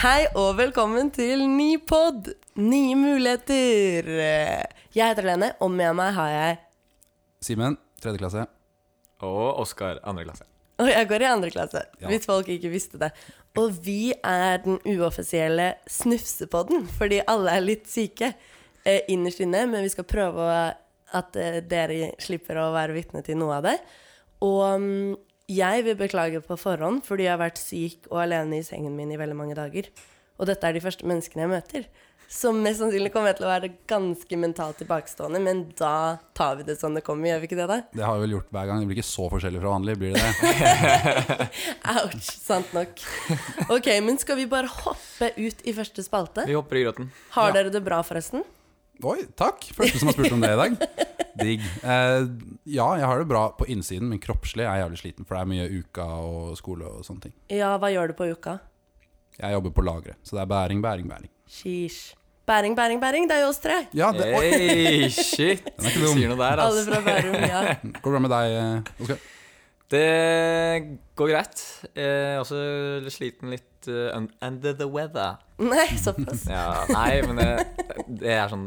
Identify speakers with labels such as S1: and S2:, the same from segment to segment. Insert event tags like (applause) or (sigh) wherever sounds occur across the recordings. S1: Hei og velkommen til ny pod, nye muligheter. Jeg heter Lene, og med meg har jeg
S2: Simen, tredje klasse.
S3: Og Oskar, andre klasse.
S1: Og jeg går i andre klasse,
S2: Ja.
S1: hvis folk ikke visste det. Og vi er den uoffisielle snufsepodden, fordi alle er litt syke eh, innerst inne, men vi skal prøve å, at eh, dere slipper å være vitne til noe av det. Og mm, jeg vil beklage på forhånd, fordi jeg har vært syk og alene i sengen min i veldig mange dager. Og dette er de første menneskene jeg møter. Så mest sannsynlig kommer jeg til å være ganske mentalt tilbakestående, men da tar vi det som det kommer, gjør vi ikke det da?
S2: Det har vi vel gjort hver gang. Det blir ikke så forskjellig fra vanlig, blir det
S3: (laughs)
S2: det?
S1: Ouch, sant nok. Ok, men skal vi bare hoppe ut i første spalte?
S3: Vi hopper i gråten.
S1: Har dere det bra, forresten?
S2: Oi, takk! Første som har spurt om det i dag. Digg. Eh, ja, jeg har det bra på innsiden, men kroppslig er jeg jævlig sliten, for det er mye uka og skole og sånne ting.
S1: Ja, hva gjør du på uka?
S2: Jeg jobber på lageret, så det er bæring, bæring, bæring.
S1: Sheesh. Bæring, bæring, bæring, det er jo oss tre.
S2: Ja, det, oi,
S3: Hey, shit!
S2: er ikke
S3: Du
S2: dum.
S3: sier noe der,
S1: Alle
S3: altså.
S1: fra Bærum, ja.
S2: går det bra med deg, eh, Oskar?
S3: Det går greit. Eh, også litt sliten litt eh, un- under the weather.
S1: Nei, såpass.
S3: Ja, nei, men det, det er sånn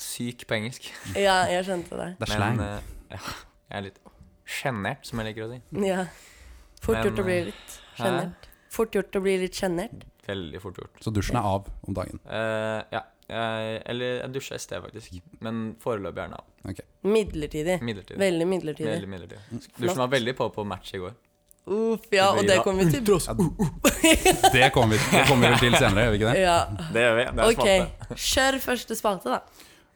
S3: syk på engelsk.
S1: Ja, jeg skjønte det.
S2: Det er
S3: Men,
S2: slang.
S3: eh, ja, jeg er litt sjenert, som jeg liker å si.
S1: Ja. Fort
S3: Men,
S1: gjort å bli litt sjenert. Fort gjort å bli litt sjenert.
S3: Veldig fort gjort.
S2: Så dusjen er av om dagen.
S3: Eh, ja. Jeg, eller jeg dusja i sted, faktisk. Men foreløpig er den av.
S2: Ok.
S1: Midlertidig.
S3: Midlertidig.
S1: Veldig midlertidig.
S3: Veldig
S2: Mm.
S3: midlertidig. Dusjen var veldig på på match i går.
S1: Uff, ja, og det kommer vi til.
S2: Ja, det kommer vi det kommer vi vel til senere, gjør vi ikke det?
S1: Ja,
S3: Det gjør vi. Det
S1: ok. Kjør første spalte, da.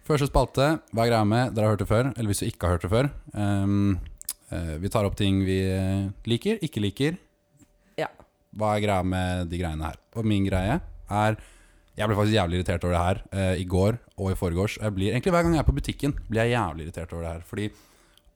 S2: Første spalte, hva er greia med? Dere har hørt det før, eller hvis du ikke har hørt det før. ehm, eh, vi tar opp ting vi eh, liker, ikke liker.
S1: Ja.
S2: Hva er greia med de greiene her? Og min greie er Jeg ble faktisk jævlig irritert over det her eh, i går og i forgårs. Og jeg blir, egentlig hver gang jeg er på butikken, blir jeg jævlig irritert over det her. Fordi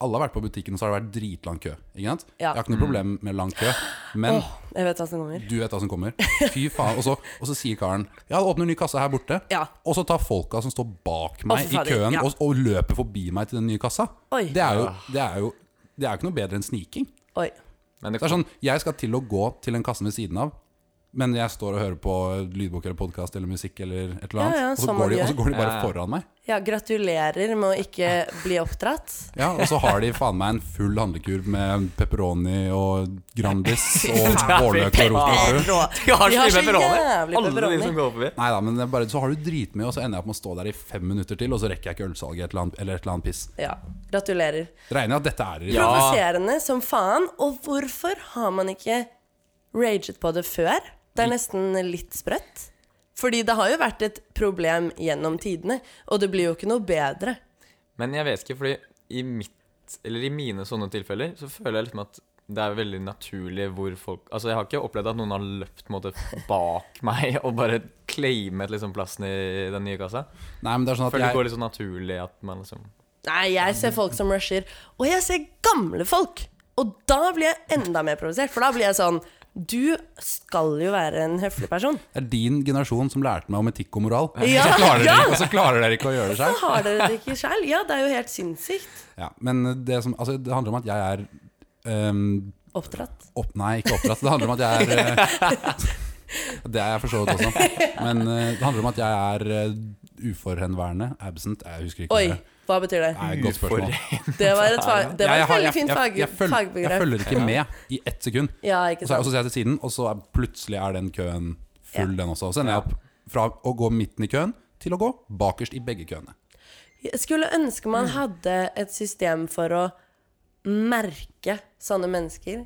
S2: alle har vært på butikken, og så har det vært dritlang kø. Ikke sant?
S1: Ja.
S2: Jeg har ikke noe problem med lang kø, men
S1: Åh, jeg vet hva som kommer.
S2: du vet hva som kommer. Fy faen. Og så, og så sier karen Ja, det åpner en ny kasse her borte.
S1: Ja.
S2: Og så tar folka som står bak meg
S1: Å, fy
S2: i
S1: fader,
S2: køen,
S1: ja.
S2: og, og løper forbi meg til den nye kassa.
S1: Oi.
S2: Det er jo, det er jo det er jo ikke noe bedre enn sniking.
S1: Oi.
S3: Men det
S2: Det er sånn, Jeg skal til å gå til den kassen ved siden av, men jeg står og hører på lydbok eller podkast eller musikk eller et eller annet,
S1: Ja, ja,
S2: og, så
S1: som man
S2: går de, og
S1: gjør.
S2: så går de bare
S3: Ja.
S2: foran meg.
S1: Ja, gratulerer med å ikke bli oppdratt.
S2: Ja, Og så har de faen meg en full handlekurv med pepperoni og Grandis
S3: (laughs)
S2: og vårløk og rotenbrød.
S1: Rå.
S3: De har
S1: De
S3: så
S1: har så
S3: mye pepperoni.
S1: jævlig
S3: Alle de
S1: pepperoni.
S3: som går forbi.
S2: Nei da, men det er bare, så har du dritmye, og så ender jeg opp med å stå der i fem minutter til, og så rekker jeg ikke ølsalget eller et eller annet, eller et eller annet piss.
S1: Ja, gratulerer.
S2: Det regner jeg at dette er
S3: Ja.
S1: Provoserende som faen. Og hvorfor har man ikke raget på det før? Det er nesten litt sprøtt. Fordi det har jo vært et problem gjennom tidene, og det blir jo ikke noe bedre.
S3: Men jeg vet ikke, fordi i mitt, eller i mine sånne tilfeller, så føler jeg liksom at det er veldig naturlig hvor folk Altså, jeg har ikke opplevd at noen har løpt på en måte bak (laughs) meg og bare claimet liksom plassen i den nye kassa.
S2: Nei, men det er sånn at
S3: Føler det
S2: jeg,
S3: går litt sånn naturlig at man liksom
S1: Nei, jeg ser folk som rusher, og jeg ser gamle folk! Og da blir jeg enda mer provosert, for da blir jeg sånn Du skal jo være en høflig person.
S2: det er din generasjon som lærte meg om etikk og moral.
S1: Ja,
S2: Så klarer dere,
S1: ja.
S2: ikke- og så klarer dere ikke å gjøre det
S1: Så
S2: selv.
S1: har dere det ikke sjæl. Ja, det er jo helt sinnssykt.
S2: Ja, men det, som, altså, det handler om at jeg er ehm,
S1: Oppdratt.
S2: opp, Nei, ikke oppdratt. Det handler om at jeg er eh, (laughs) Det er jeg for så vidt også. Men eh, det handler om at jeg er eh, uforhenværende. Absent. Jeg husker ikke.
S1: Oi,
S2: det.
S1: hva betyr det?
S2: Nei, godt spørsmål.
S3: (laughs)
S1: Det var et, fa- det var
S2: Jeg- jeg
S1: et
S2: har-
S1: veldig
S2: jeg-
S1: fint
S2: jeg-
S1: fag,
S2: jeg følger- Jeg
S1: fagbegrep.
S2: følger
S1: (laughs)
S2: ikke med i ett sekund.
S1: Ja, ikke
S2: Og så, og så
S1: sant.
S2: ser jeg til siden, og så er plutselig er den køen full,
S1: Ja.
S2: den også. Og så ender jeg opp fra å gå midten i køen til å gå bakerst i begge køene.
S1: Jeg skulle ønske
S2: Mm.
S1: man hadde et system for å merke sånne mennesker.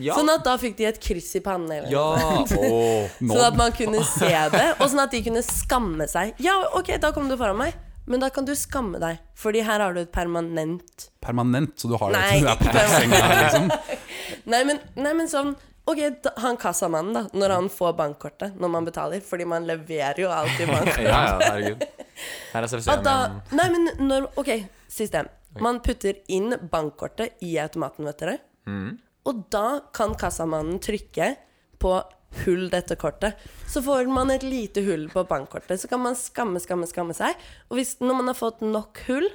S3: Ja!
S1: Sånn at da fikk de et kryss i pannen. Eller.
S3: ja! Åh.
S2: Nå,
S1: Sånn at man kunne
S2: (laughs)
S1: se det, og sånn at de kunne skamme seg. Ja, ok, da kom du foran meg, men da kan du skamme deg, fordi her har du et permanent
S2: permanent, så du har det
S1: Nei,
S2: til (laughs) du er på
S1: ikke
S2: senga. her, Liksom.
S1: (laughs) Nei, men, nei, men sånn Ok, da, han kassamannen, da, når han får bankkortet når man betaler, fordi man leverer jo alltid bankkortet.
S3: Ja, ja, herregud. Her er
S1: At
S3: CFC-en
S1: da,
S3: igjen.
S1: nei, men når, ok, system. Man putter inn bankkortet i automaten, vet dere. Og da kan kassamannen trykke på hull dette kortet. Så får man et lite hull på bankkortet. Så kan man skamme, skamme, skamme seg. Og hvis, når man har fått nok hull,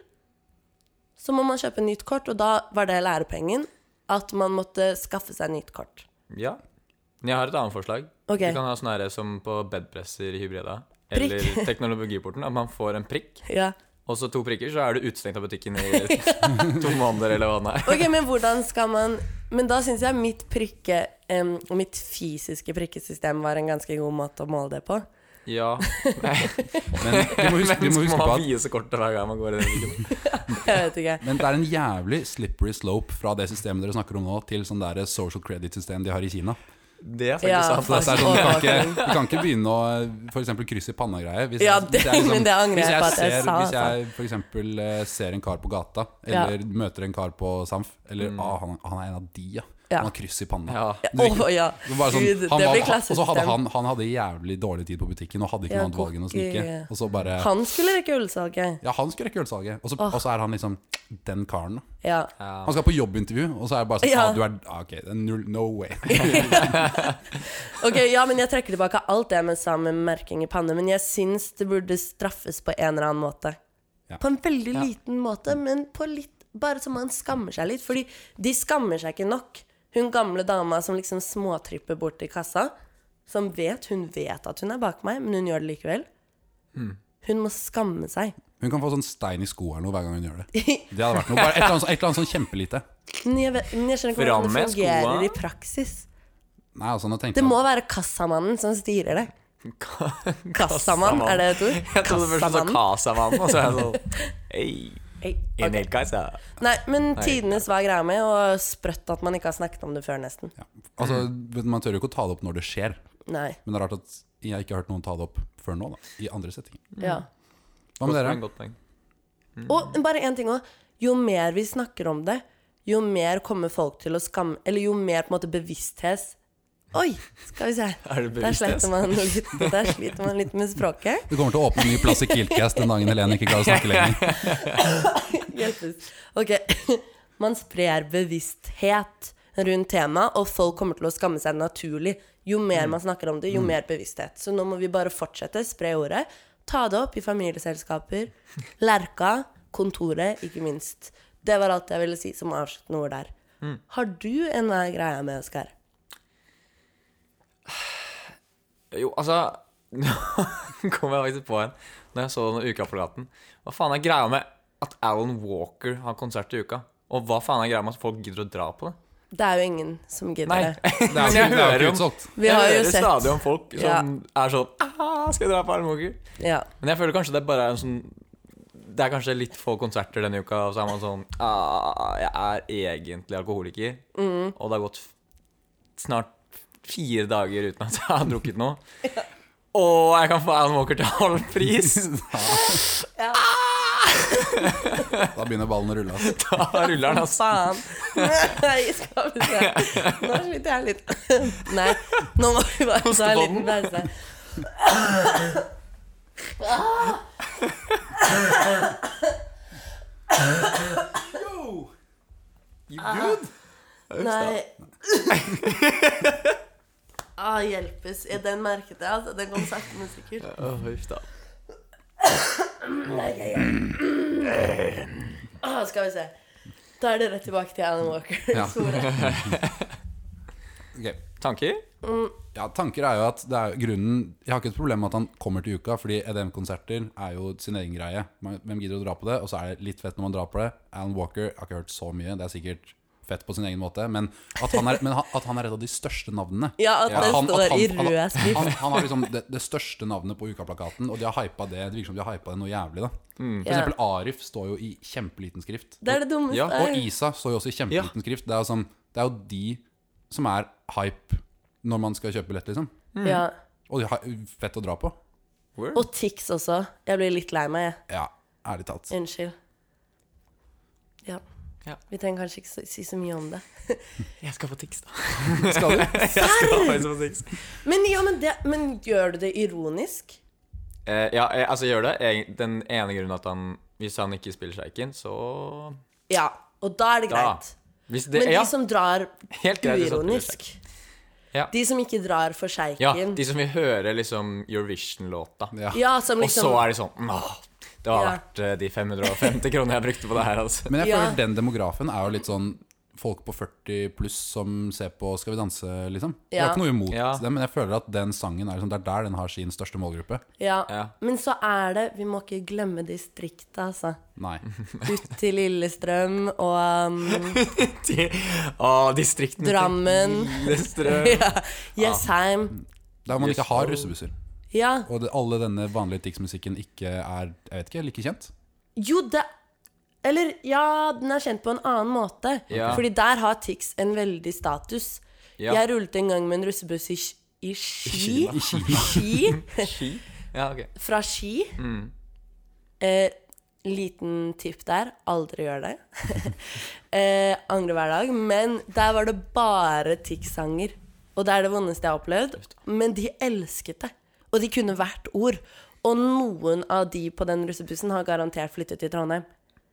S1: så må man kjøpe nytt kort. (laughs) Og da var det lærepengen at man måtte skaffe seg nytt kort.
S3: Ja. Men jeg har et annet forslag.
S1: Ok.
S3: Du kan ha sånne her som på bedpresser i Hybrida.
S1: Prikk.
S3: Eller teknologiporten. At man får en prikk,
S1: Ja.
S3: og så to prikker, så er du utestengt av
S2: (laughs)
S3: butikken i (laughs) to måneder, eller hva det er.
S1: Ok, men hvordan skal man Men da syns jeg mitt prikke em, Mitt fysiske prikkesystem var en ganske god måte å måle det på.
S3: Ja. Nei,
S2: (laughs) Men du må huske,
S3: (laughs)
S2: du
S3: men
S2: må
S3: så
S2: huske
S3: må
S2: på
S3: man
S2: at
S3: vise kortet hver gang man går i den butikken.
S1: Jeg vet ikke.
S2: men det er en jævlig slippery slope fra det systemet dere snakker om nå, til sånn der social credit-system de har i Kina.
S3: Det er faktisk
S1: Ja,
S3: sant.
S2: Så
S3: altså.
S2: det er sånn, du, kan
S1: Overvåking.
S2: ikke, du kan ikke begynne å f.eks. krysse i panna-greie. Hvis,
S1: Ja,
S2: hvis
S1: det-
S2: jeg liksom-
S1: men det angrer
S2: hvis
S1: jeg på at jeg
S2: ser-
S1: sa, altså.
S2: Hvis jeg f.eks. ser en kar på gata, eller møter en kar på Samf Eller ah, han, han er en av de, ja.
S1: Ja.
S2: Han har kryss i panna.
S3: Ja.
S1: Ja,
S2: Du vil ikke-
S1: å, ja.
S2: det var sånn,
S1: Gud,
S2: han
S1: det
S2: var-
S1: blir
S2: han- Og så hadde
S1: klassesystem.
S2: han, han hadde jævlig dårlig tid på butikken og hadde ikke
S1: Ja,
S2: noe annet valg enn å
S1: kokke.
S2: snike. Og så bare
S1: Han skulle rekke ølsalget.
S2: Ja, han skulle rekke ølsalget, og så, og så er han liksom den karen. da.
S1: Ja.
S3: Ja.
S2: Han skal på jobbintervju, og så er det bare sånn
S1: Ja.
S2: ah, du er, ah, Ok, det er null, no way.
S1: Ok, ja, men jeg trekker tilbake alt det med sammen merking i panne, men jeg syns det burde straffes på en eller annen måte.
S2: Ja.
S1: På en veldig
S3: Ja.
S1: liten måte, men på litt bare så man skammer seg litt. Fordi de skammer seg ikke nok. Hun gamle dama som liksom småtripper bort til kassa, som vet hun vet at hun er bak meg, men hun gjør det likevel.
S3: Hmm.
S1: Hun må skamme seg. (laughs)
S2: Hun kan få sånn stein i skoa eller noe hver gang hun gjør det. Det hadde vært noe, bare Et eller annet, sånn- et eller annet sånn kjempelite.
S1: Men jeg, vet, men jeg skjønner ikke
S3: Fram
S1: hvordan det
S3: med skoa.
S1: fungerer i praksis.
S2: Nei, altså, nå tenkte
S1: Det
S2: jeg
S1: må være kassamannen som styrer det. Kassamann, er det et ord?
S3: Jeg trodde sånn først du sa Kasamann, og så er
S2: (laughs)
S3: jeg sånn Hei,
S1: Hei,
S3: en
S1: ok.
S3: hel kassa.
S1: Nei, men tidenes var greia med, og sprøtt at man ikke har snakket om det før, nesten.
S2: ja. altså, vet du, Man tør jo ikke å ta det opp når det skjer,
S1: Nei.
S2: men det er rart at jeg ikke har hørt noen ta det opp før nå. da I andre settinger.
S1: Ja.
S2: Hva med dere?
S3: Godt poeng. Mm.
S1: Og bare én ting òg. Jo mer vi snakker om det, jo mer kommer folk til å skamme Eller jo mer på en måte bevissthet Oi, skal vi se.
S3: Er det
S1: Der sliter
S3: bevissthet?
S1: man litt, der sliter man litt med språket.
S2: Du kommer til å åpne en ny plass i Kiltcast den dagen Helene ikke klarer å (laughs) snakke lenger.
S1: Hjelpes. Ok. (laughs) Man sprer bevissthet rundt temaet, og folk kommer til å skamme seg naturlig. Jo mer man snakker om det, jo mer bevissthet. Så nå må vi bare fortsette, spre ordet. Ta det opp i familieselskaper, Lerka, kontoret, ikke minst. Det var alt jeg ville si som avsluttende ord der. Har du en eh, greie med, Oskar?
S3: Jo, altså (laughs) Nå kom jeg faktisk på en Når jeg så denne ukeapparaten. Hva faen er greia med at Alan Walker har konsert i uka? Og hva faen er greia med at folk gidder å dra på det?
S1: Det er jo ingen som
S3: Nei,
S1: gidder det.
S3: (laughs)
S2: Det er jo ikke, det
S3: Jeg
S2: er jo
S3: hører
S2: ikke
S3: om-
S2: utsolgt.
S1: Vi har
S3: jeg
S1: jo
S3: hører
S1: sett.
S3: stadig om folk som
S1: Ja.
S3: er sånn «Ah, Skal jeg dra på Alan Walker?
S1: Ja.
S3: Men jeg føler kanskje det bare er en sånn Det er kanskje litt få konserter denne uka, og så er man sånn ah, Jeg er egentlig alkoholiker,
S1: Mm.
S3: og det har gått f- snart fire dager uten at jeg har drukket
S1: (laughs)
S3: noe. Og jeg kan få Alan Walker til halv
S1: (laughs)
S3: pris!
S2: Da begynner ballen å rulle. ass.
S3: Da ruller den, altså.
S1: Faen. Nei, skal vi se. Nå sliter jeg litt. Nei, nå må vi bare ta en liten pause.
S3: You good?
S1: Nei. Ah, hjelpes. Ja, Den merket jeg, altså. Den kom sakte, men sikkert.
S3: Åh, huff da.
S1: Nei, nei, nei. Ah, skal vi se. Da er det rett tilbake til Alan Walker. (laughs)
S2: Ja.
S1: Store.
S2: Ok.
S3: Tanker?
S2: Ja, tanker er jo at det er grunnen Jeg har ikke et problem med at han kommer til uka, fordi EDM-konserter er jo sin egen greie. Man- Hvem gidder å dra på det? Og så er det litt fett når man drar på det. Alan Walker, jeg har ikke hørt så mye, det er sikkert fett på sin egen måte, men at han er, men han- at han er et av de største navnene.
S1: Ja, at det
S2: han-
S1: står i
S2: han- han-
S1: rød skrift.
S2: Han, han har liksom det, det største navnet på ukaplakaten, og de har hypa det. Det virker som de har hypa det noe jævlig, da. For
S1: Ja.
S2: eksempel Arif står jo i kjempeliten skrift.
S1: Det er det dummeste.
S3: Ja,
S2: Og Isa står jo også i kjempeliten skrift. Det er, jo sånn, det er jo de som er hype når man skal kjøpe billett, liksom.
S1: ja.
S2: Og de har- fett å dra på.
S3: Word.
S1: Og Tix også. Jeg blir litt lei meg, jeg.
S2: Ja, ærlig talt.
S1: Unnskyld. Ja.
S3: Ja.
S1: Vi trenger kanskje ikke så- si så mye om det.
S3: Jeg skal få tics, da.
S2: Skal du?
S3: Jeg (laughs) skal faktisk få tics.
S1: Men, ja, men, det, men gjør du det ironisk?
S3: Eh, ja, eh, altså, gjør det. Eg- Den ene grunnen at han Hvis han ikke spiller sjeiken, så
S1: Ja. Og da er det
S3: Da.
S1: greit.
S3: hvis det,
S1: Men de
S3: ja.
S1: som drar
S3: Helt greit hvis han spiller
S1: uironisk
S3: Ja.
S1: De som ikke drar for sjeiken.
S3: Ja,
S1: Ja,
S3: de som vil høre liksom Eurovision-låta.
S2: Ja.
S1: som
S3: Og så
S1: liksom
S3: er de sånn Åh, det har
S1: Ja.
S3: vært eh, de 550 kronene jeg brukte på det her, altså. (laughs)
S2: Men jeg
S1: Ja.
S2: føler den demografen er jo litt sånn folk på 40 pluss som ser på Skal vi danse, liksom. Jeg
S1: Ja.
S2: har ikke noe imot
S3: Ja.
S2: det, men jeg føler at den sangen er liksom, det er der den har sin største målgruppe.
S1: Ja.
S3: Ja.
S1: Men så er det Vi må ikke glemme distriktet, altså.
S3: (laughs)
S2: Nei.
S1: Ut til Lillestrøm og um,
S3: Til- Å, distriktene
S1: Drammen. (laughs)
S3: Lillestrøm.
S1: ja, Jessheim.
S2: Der man
S3: Yes,
S2: ikke har
S3: og-
S2: russebusser.
S1: Ja.
S2: Og det, alle denne vanlige Tix-musikken ikke er jeg vet ikke, like kjent.
S1: Jo, det Eller ja, den er kjent på en annen måte.
S3: Ja.
S1: Fordi der har Tix en veldig status.
S3: Ja.
S1: Jeg rullet en gang med en russebuss i, Sk- i Ski.
S2: I Kina.
S1: Ski.
S3: Ski? Ja, ok.
S1: Fra Ski.
S2: Mm.
S1: Eh, liten tipp der aldri gjør det. (laughs) eh, angrer hver dag. Men der var det bare Tix-sanger. Og det er det vondeste jeg har opplevd. Men de elsket det. Og de kunne hvert ord. Og noen av de på den russebussen har garantert flyttet til Trondheim.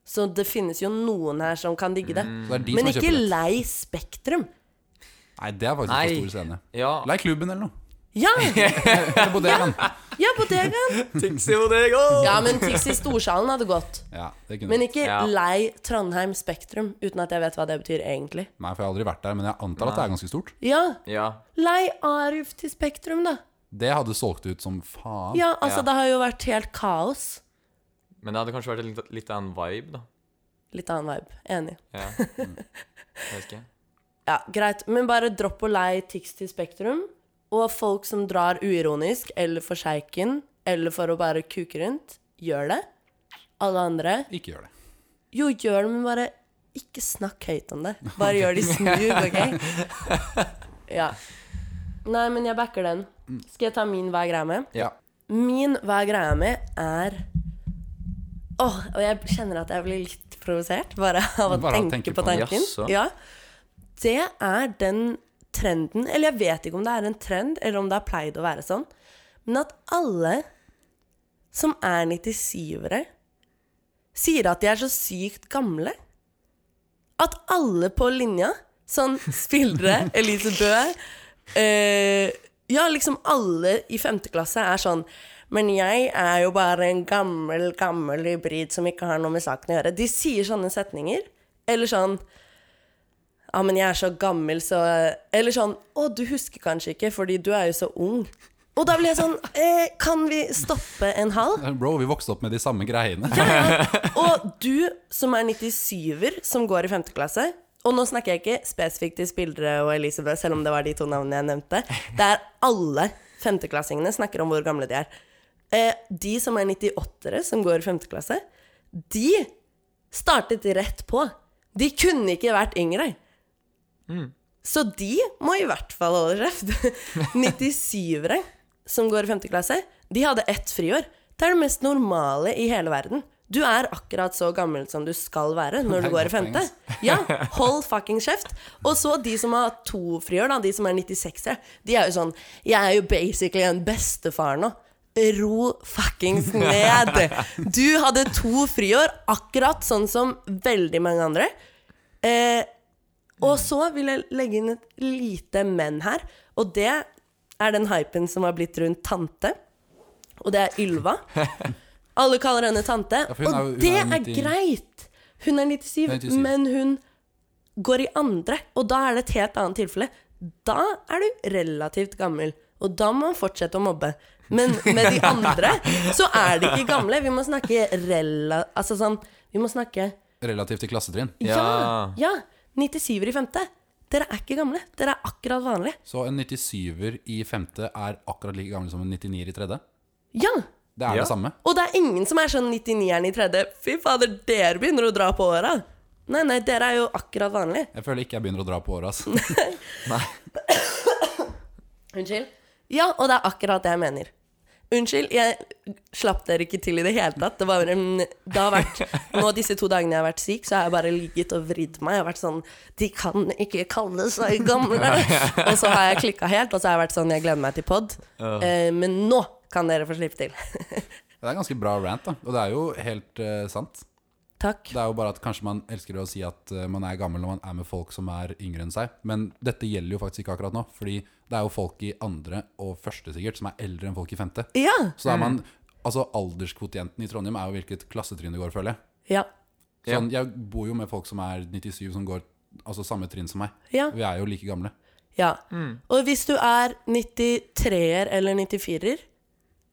S1: Så det finnes jo noen her som kan digge det.
S2: Så Mm. det er de
S1: Men
S2: som
S1: ikke
S2: kjøper det.
S1: lei Spektrum.
S2: Nei, det er faktisk
S3: Nei.
S2: for stor scene.
S3: Ja.
S2: Lei klubben eller noe. (laughs)
S1: Ja!
S2: Eller bodegaen.
S3: (laughs)
S1: Ja,
S2: (laughs)
S1: bodegaen.
S3: Tixi Bodego!
S1: Ja, men Tix i Storsalen hadde gått.
S2: Ja, det kunne
S1: Men
S2: jeg.
S1: ikke
S3: Ja.
S1: lei Trondheim Spektrum, uten at jeg vet hva det betyr egentlig.
S2: Nei, for jeg har aldri vært der, men jeg antar at det er ganske stort.
S1: Ja,
S3: Ja.
S1: lei Arif til Spektrum, da.
S2: Det hadde solgt ut som faen.
S1: Ja, altså,
S3: Ja.
S1: det har jo vært helt kaos.
S3: Men det hadde kanskje vært litt, litt annen vibe, da.
S1: Litt annen vibe. Enig. (laughs)
S3: Ja. Mm. Jeg vet ikke.
S1: Ja, greit. Men bare dropp å lei Tix til Spektrum. Og folk som drar uironisk, eller for sjeiken, eller for å bare kuke rundt, gjør det. Alle andre
S2: Ikke gjør det.
S1: Jo, gjør det, men bare ikke snakk høyt om det. Bare gjør de smooth, OK? Ja. Nei, men jeg backer den. Skal jeg ta min hva er greia med?
S2: Ja.
S1: Min hva er greia med er Åh, og jeg kjenner at jeg blir litt provosert bare av å
S2: Bare av å
S1: tenke,
S2: tenke
S1: på
S2: på den.
S1: tanken.
S3: Jaså.
S1: Ja. Det er den trenden Eller jeg vet ikke om det er en trend, eller om det har pleid å være sånn, men at alle som er 97-ere, sier at de er så sykt gamle. At alle på linja, sånn spillere, Elise Bø eh, Ja, liksom alle i femte klasse er sånn Men jeg er jo bare en gammel, gammel hybrid som ikke har noe med saken å gjøre. De sier sånne setninger. Eller sånn Ja, men jeg er så gammel, så Eller sånn Å, du husker kanskje ikke, fordi du er jo så ung. Og da blir jeg sånn eh, Kan vi stoppe en halv?
S2: Eh, Bro, vi vokste opp med de samme greiene.
S1: Og du som er 97-er, som går i 5. klasse Og nå snakker jeg ikke spesifikt til Spildre og Elisabeth, selv om det var de to navnene jeg nevnte. Det er alle femteklassingene snakker om hvor gamle de er. Eh, de som er 98-ere, som går i 5. klasse, de startet rett på. De kunne ikke vært yngre. Så de må i hvert fall holde kjeft. (laughs) 97-ere som går i 5. klasse, de hadde ett friår. Det er det mest normale i hele verden. Du er akkurat så gammel som du skal være når du
S2: (laughs) Det er
S1: går i
S2: godt
S1: 5.
S2: poeng, altså. (laughs)
S1: Ja, hold fucking kjeft. Og så de som har to friår, da, de som er 96-ere, de er jo sånn Jeg er jo basically en bestefar nå. Ro
S2: (laughs)
S1: fuckings ned. Du hadde to friår, akkurat sånn som veldig mange andre. Eh, og så vil jeg legge inn et lite men her, og det er den hypen som har blitt rundt tante. Og det er
S2: (laughs)
S1: Ylva. Alle kaller henne tante,
S2: for hun er jo-
S1: og
S2: hun
S1: det
S2: er jo
S1: er
S2: 90.
S1: greit. Hun er 97,
S2: 97.
S1: men hun går i andre, og da er det et helt annet tilfelle. Da er du relativt gammel, og da må man fortsette å mobbe. Men med de andre så er de ikke gamle. Vi må snakke rela... Altså sånn Vi må snakke
S2: Relativt til klassetrinn.
S1: ja,
S3: Ja.
S1: ja. 97-er i femte. Dere er ikke gamle. Dere er akkurat vanlige.
S2: Så en 97-er i femte er akkurat like gammel som en 99-er i tredje.
S1: Ja.
S2: Det er
S3: Ja.
S2: det samme.
S1: Og det er ingen som er sånn 99-eren i tredje. Fy fader, dere begynner å dra på åra. Nei, nei, dere er jo akkurat vanlige.
S2: Jeg føler ikke jeg begynner å dra på året, altså. ass.
S1: Unnskyld? Ja, og det er akkurat det jeg mener. Unnskyld, jeg slapp dere ikke til i det hele tatt. Det, var, mm, det har vært Nå disse to dagene jeg har vært syk, så har jeg bare ligget og vridd meg. Jeg har vært sånn De kan ikke kalle seg
S2: (laughs)
S1: gamle! Og så har jeg klikka helt, og så har jeg vært sånn Jeg gleder meg til pod. Eh, men nå kan dere få slippe til. (laughs)
S2: Det er ganske bra rant, da. Og det er jo helt eh, sant.
S1: Takk.
S2: Det er jo bare at kanskje man elsker å si at eh, man er gammel når man er med folk som er yngre enn seg, men dette gjelder jo faktisk ikke akkurat nå, fordi det er jo folk i andre og første sikkert som er eldre enn folk i femte.
S1: Ja.
S2: Så da er man, altså alderskvotienten i Trondheim er jo hvilket klassetrinn det går, føler jeg.
S1: ja.
S2: Sånn, Jeg bor jo med folk som er 97 som går altså samme trinn som meg.
S1: Ja.
S2: Vi er jo like gamle.
S1: Ja.
S2: Mm.
S1: Og hvis du er 93-er eller 94-er,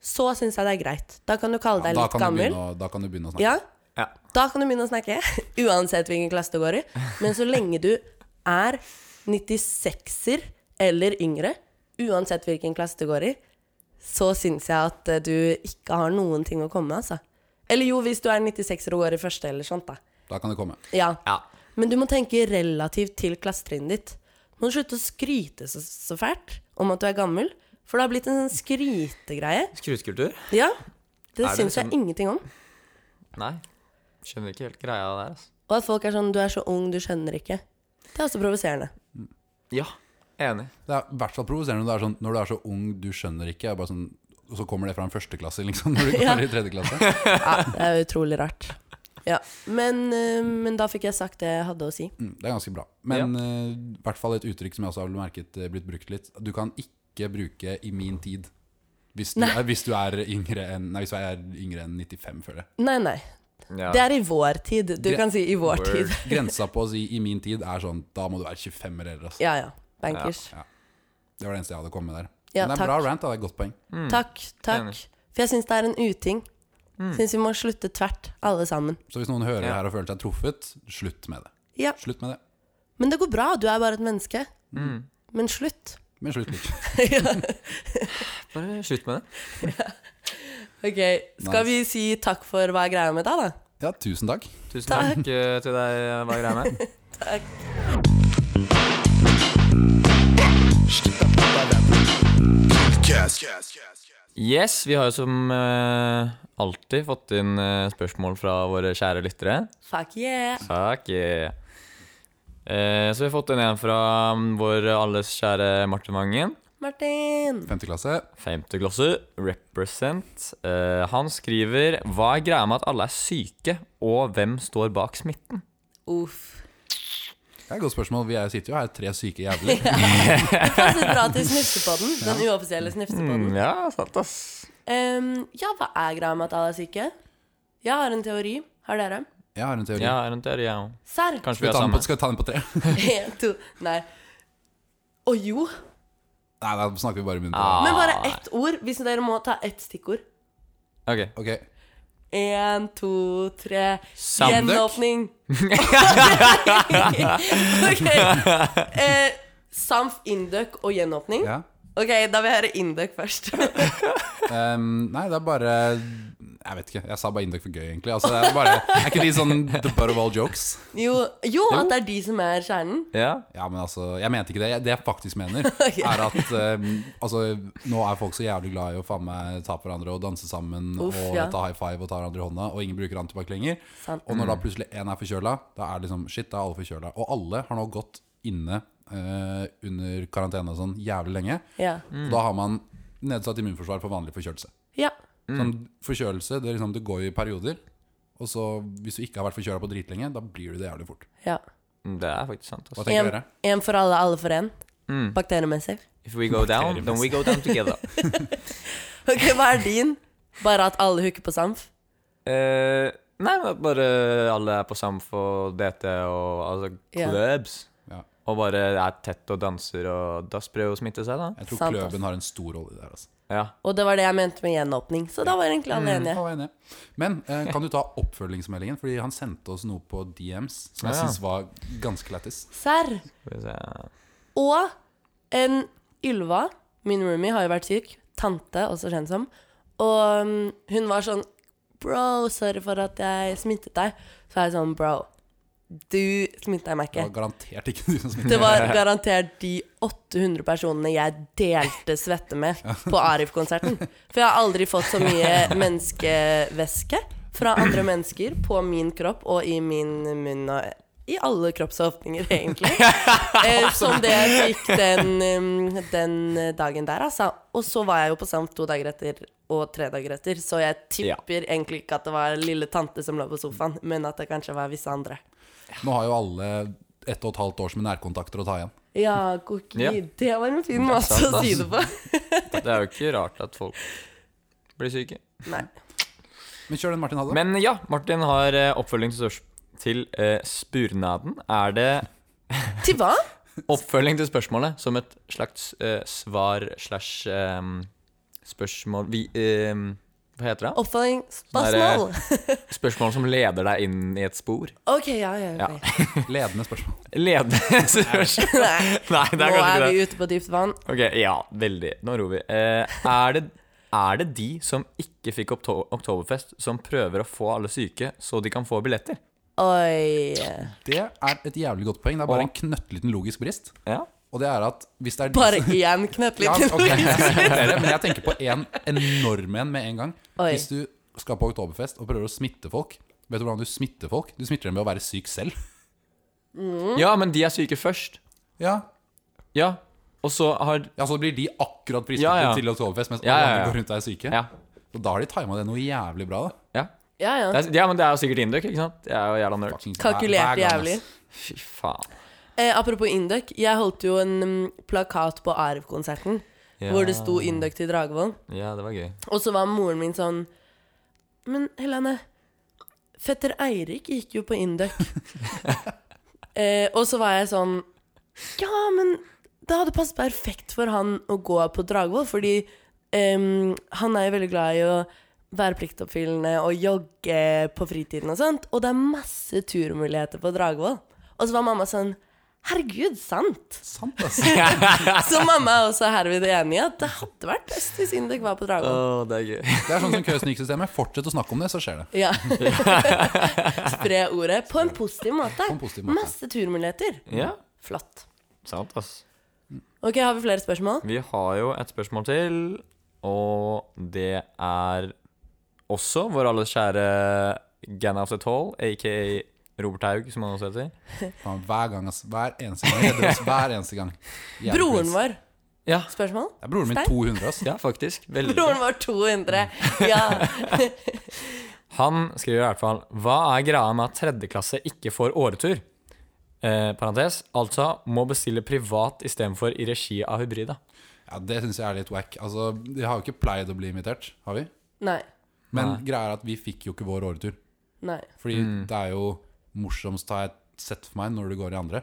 S1: så syns jeg det er greit. Da kan du kalle deg
S2: da,
S1: litt
S2: kan du
S1: gammel.
S2: begynne å, da kan du begynne å snakke.
S1: Ja,
S3: Ja.
S1: da kan du begynne å snakke. (laughs) Uansett hvilken klasse du går i. Men så lenge du er 96-er eller yngre, uansett hvilken klasse du går i, så syns jeg at eh, du ikke har noen ting å komme med, altså. Eller jo, hvis du er 96-er og går i første eller sånt, da.
S2: Da kan det komme.
S1: Ja.
S3: Ja.
S1: Men du må tenke relativt til klassetrinnet ditt. Du må slutte å skryte så, så fælt om at du er gammel, for det har blitt en sånn skrytegreie.
S3: Skrutekultur?
S1: Ja, det
S3: Er det
S1: syns jeg
S3: liksom-
S1: ingenting om.
S3: Nei. Skjønner ikke helt greia der, altså.
S1: Og at folk er sånn 'du er så ung, du skjønner ikke'. Det er også provoserende.
S3: Ja, enig.
S2: Det er i hvert fall provoserende når du er sånn Når du er så ung, du skjønner ikke. Jeg er bare sånn, og så kommer det fra en førsteklasse, liksom. (laughs) Når du går
S1: Ja.
S2: i tredje klasse.
S1: Det er utrolig rart. Ja, men, eh, men da fikk jeg sagt det jeg hadde å si.
S2: Mm, det er ganske bra. Men eh, i hvert fall et uttrykk som jeg også har merket eh, blitt brukt litt. Du kan ikke bruke 'i min tid' hvis du,
S1: Nei.
S2: er, hvis du er yngre enn Nei, hvis du er yngre enn 95, føler jeg.
S1: Nei, nei.
S3: Ja.
S1: Det er i vår tid. Du
S2: Det-
S1: kan si 'i vår
S3: Word.
S1: tid'.
S2: Grensa på å si 'i min tid' er sånn Da må du være 25 eller eldre. ass.
S1: Ja ja. Bankers.
S2: Det var det eneste jeg hadde kommet med der.
S1: Ja,
S2: Men det
S1: takk.
S2: er bra rant, da. Det er et godt poeng.
S1: Takk, takk.
S3: Mm. Enig. Mm.
S1: For jeg syns det er en uting. Syns vi må slutte tvert, alle sammen.
S2: Så hvis noen hører
S3: Ja.
S2: det her og føler seg truffet, slutt med det.
S1: Ja.
S2: Slutt med det.
S1: Men det går bra, du er bare et menneske.
S3: Mm.
S1: Men slutt.
S2: Men slutt litt.
S1: (laughs)
S3: Bare slutt med det.
S1: Ok, Skal
S2: Nice.
S1: vi si takk for hva er greia med deg, da?
S2: Ja, tusen takk.
S3: Tusen takk, eh, til deg, hva er greia med. Yes, vi har jo som eh, alltid fått inn eh, spørsmål fra våre kjære lyttere.
S1: Fuck yeah!
S3: Takk. eh. Eh, så vi har fått inn en fra mm, vår alles kjære Martin Vangen.
S1: Martin!
S2: Femte klasse.
S3: Femte klasse, represent. Eh, han skriver Hva er greia med at alle er syke, og hvem står bak smitten?
S1: Uff.
S2: Det er et godt spørsmål. Vi er, sitter jo her, tre syke
S1: (laughs)
S2: jævler.
S1: Passet bra til Snufsepodden. Den uoffisielle Snufsepodden.
S3: Mm, ja, sant, ass.
S1: Em, ja, hva er greia med at alle er syke? Jeg har en teori. Har dere?
S2: Jeg har en teori.
S3: Ja, er det en teori, ja.
S1: Serr!
S2: Skal,
S3: Kanskje
S2: vi
S3: vi har
S2: ta den på,
S3: samme.
S2: skal vi ta den på tre?
S1: (laughs)
S2: (laughs)
S1: En, to Nei. Å jo!
S2: Nei, da snakker vi bare i munnen på
S3: Ah.
S2: det.
S1: Men bare ett ord, hvis dere må ta ett stikkord.
S3: Ok.
S2: Ok.
S1: Én, to, tre.
S3: Samdøkk.
S1: Gjenåpning.
S3: (laughs)
S1: ok. Eh, Samf, Indøk og gjenåpning.
S2: Ja.
S1: Ok, da vil jeg høre Indøk
S3: (laughs)
S1: først.
S2: Ehm, nei, det er bare Jeg vet ikke. Jeg sa bare Indok for gøy, egentlig. Altså, det er, bare, er ikke de sånn the butt of all jokes?
S1: jo, jo, at det er de som er kjernen.
S3: Ja.
S2: Ja, men altså, Jeg mente ikke det. Jeg- Det jeg faktisk
S1: (laughs)
S2: mener, er at ehm, altså, nå er folk så jævlig glad i å faen meg ta på hverandre og danse sammen
S1: Uff,
S2: og
S1: ja.
S2: ta high five og ta hverandre i hånda, og ingen bruker antibac lenger.
S1: Sant.
S2: Og når da plutselig én er forkjøla, da er det liksom shit, da er alle forkjøla. Og alle har nå gått inne eh, under karantene og sånn jævlig lenge.
S1: Ja.
S2: Og da har man nedsatt immunforsvar for vanlig forkjølelse.
S1: ja.
S2: Sånn, forkjølelse det, er liksom, det går jo i perioder. Og så Hvis du ikke har vært forkjøla på dritlenge, da blir du det jævlig fort.
S1: ja.
S3: Det er faktisk sant.
S2: Hva
S3: Ass.
S2: tenker
S1: En,
S2: dere?
S1: en for alle, alle for én. Bakteriemessig. (laughs)
S3: If we go down, then we go down together.
S1: Ok, hva er din? Bare at alle hooker på Samf?
S3: (laughs) Eh, nei, men at bare alle er på Samf og DT og altså
S1: Ja.
S3: clubs.
S2: Ja.
S3: Og bare er tett og danser, og da sprer jo smitte seg, da.
S2: Jeg tror
S1: Sant, ass.
S2: kløben har en stor rolle der. Altså.
S3: Ja.
S1: Og det var det jeg mente med gjenåpning. Så da var egentlig alle
S2: Jeg
S1: enige.
S2: var Mm, enig. Men eh, kan du ta oppfølgingsmeldingen? Fordi han sendte oss noe på DMs som jeg
S3: Ja.
S2: synes var ganske lættis.
S1: Serr?
S3: Skal vi se.
S1: Og en Ylva, min roomie, har jo vært syk. Tante, også kjent som. Og mm, hun var sånn Bro, sorry for at jeg smittet deg. Så er jeg sånn, bro, du smittet meg
S2: Det
S1: ikke.
S2: var garantert ikke du som smittet.
S1: Det var garantert de 800 personene jeg delte svette med på Arif-konserten. For jeg har aldri fått så mye menneskevæske fra andre mennesker på min kropp og i min munn og i alle kroppsåpninger, egentlig. Eh, som det jeg fikk den, um, den dagen der, altså. Og så var jeg jo på samt to dager etter og tre dager etter, så jeg tipper egentlig ikke at det var lille tante som lå på sofaen, men at det kanskje var visse andre.
S2: Nå har jo alle ett og et halvt års med nærkontakter å ta igjen.
S1: Ja, koki.
S3: Ja.
S1: Det var en fin måte
S3: sant,
S1: å si
S3: ass.
S1: det på.
S3: Det er jo ikke rart at folk blir syke.
S1: Nei.
S2: Men kjør den Martin hadde.
S3: Men ja, Martin har eh, oppfølging til, spørs- til eh, spurnaden. Er det
S1: Til hva?
S3: Oppfølging til spørsmålet som et slags eh, svar slash eh, spørsmål vi, eh, Hva heter det?
S1: Oppfølging? Spørsmål?
S3: Spørsmål som leder deg inn i et spor.
S1: Ok, ja, ja. (laughs)
S3: Ja.
S1: ok.
S2: Ledende spørsmål.
S3: (laughs) Ledende spørsmål
S1: Nei,
S3: Nei, det er
S1: nå
S3: kanskje
S1: er
S3: ikke det.
S1: vi ute på dypt vann.
S3: Ok, Ja, veldig. Nå ror vi. Eh, er, det, er det de som ikke fikk okto- Oktoberfest, som prøver å få alle syke så de kan få billetter?
S1: Oi.
S2: Det er et jævlig godt poeng. Det er bare en knøttliten logisk brist.
S3: Ja.
S2: Og det er at hvis det er de
S1: Bare
S2: som-
S1: én (laughs) knøttliten
S2: Ja, ok. Dere, Men jeg tenker på en enorm en med en gang.
S1: Oi.
S2: Hvis du skal på oktoberfest og prøver å smitte folk Vet du hvordan du smitter folk? Du smitter dem ved å være syk selv.
S3: ja, men de er syke først.
S2: Ja,
S3: Ja. Og så har
S2: ja Så blir de akkurat prispliktige
S3: Ja, ja.
S2: til oktoberfest, mens
S3: Ja, ja,
S2: alle
S3: ja.
S2: andre går rundt og er syke.
S3: Ja.
S2: Og da har de tima det noe jævlig bra. da
S3: ja.
S1: Ja, ja.
S3: Det er, ja, men det er jo sikkert indøk, ikke sant? Jeg er jo jævla nerd.
S2: Fucking- hver- hver
S1: Kalkulerte
S2: gang,
S1: jævlig.
S2: ass.
S3: Fy faen.
S1: Eh, apropos Induc. Jeg holdt jo en mm, plakat på Arv-konserten
S3: Ja.
S1: hvor det sto Induc til Dragvoll.
S3: Ja, det var gøy.
S1: Og så var moren min sånn Men Helene, fetter Eirik gikk jo på Induc. eh, og så var jeg sånn Ja, men det hadde passet perfekt for han å gå på Dragvoll, fordi em, han er jo veldig glad i å være pliktoppfyllende og jogge på fritiden og sånt. Og det er masse turmuligheter på Dragvoll. Og så var mamma sånn Herregud, sant!
S2: Sant, ass.
S1: Så mamma er også herved enig i at det hadde vært best hvis Induc var på Dragvoll.
S3: det er gøy.
S2: (laughs)
S3: (laughs)
S2: Det er sånn som køsniksystemet. Fortsett å snakke om det, så skjer det. (laughs)
S1: Ja. Spre ordet på en positiv måte.
S2: På en positiv måte.
S1: Masse turmuligheter.
S3: Ja,
S1: Flott.
S3: sant, ass.
S1: Ok, Har vi flere spørsmål?
S3: Vi har jo et spørsmål til, og det er også vår alles kjære Ganaus et Hall, aka Robert Haug, som han også heter.
S2: Faen, Hver gang, ass. Hver eneste gang. Jeg redder oss hver eneste gang. Jævlig
S1: Broren
S2: press.
S1: vår.
S3: Ja,
S1: Spørsmål?
S2: Det er broren min
S1: Stein?
S2: 200, ass.
S3: ja faktisk. (laughs) Veldig.
S1: Broren vår 200. Ja.
S3: Han skriver i hvert fall Hva er greia med at tredjeklasse ikke får åretur? Eh, parentes, altså må bestille privat istedenfor i regi av Hybrida.
S2: Ja, Det syns jeg er litt wack. Altså, de har jo ikke pleid å bli invitert, har vi?
S1: Nei.
S2: Men
S3: Nei. Mm.
S2: greia er at vi fikk jo ikke vår åretur.
S1: Nei.
S2: Fordi det er jo morsomst, har jeg sett for meg, når det går i andre.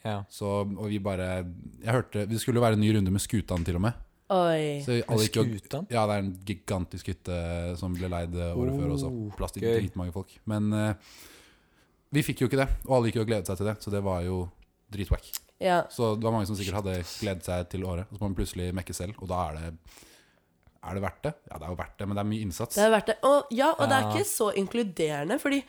S3: Ja.
S2: Så, og vi bare Jeg hørte Det skulle jo være en ny runde med Skutan, til og med.
S1: Oi.
S2: Så alle gikk jo-
S3: Skutan?
S2: ja, det er en gigantisk hytte som ble leid eh, året før også. Plass til
S3: Oh, gøy.
S2: dritmange folk. Men eh, vi fikk jo ikke det, og alle gikk jo og gledet seg til det, så det var jo dritwack.
S1: Ja.
S2: Så det var mange som sikkert hadde gledet seg til året, og så må man plutselig mekke selv, og da er det Er det verdt det? Ja, det er jo verdt det, men det er mye innsats.
S1: Det er verdt det. Og, ja, og det er
S3: Ja.
S1: ikke så inkluderende, fordi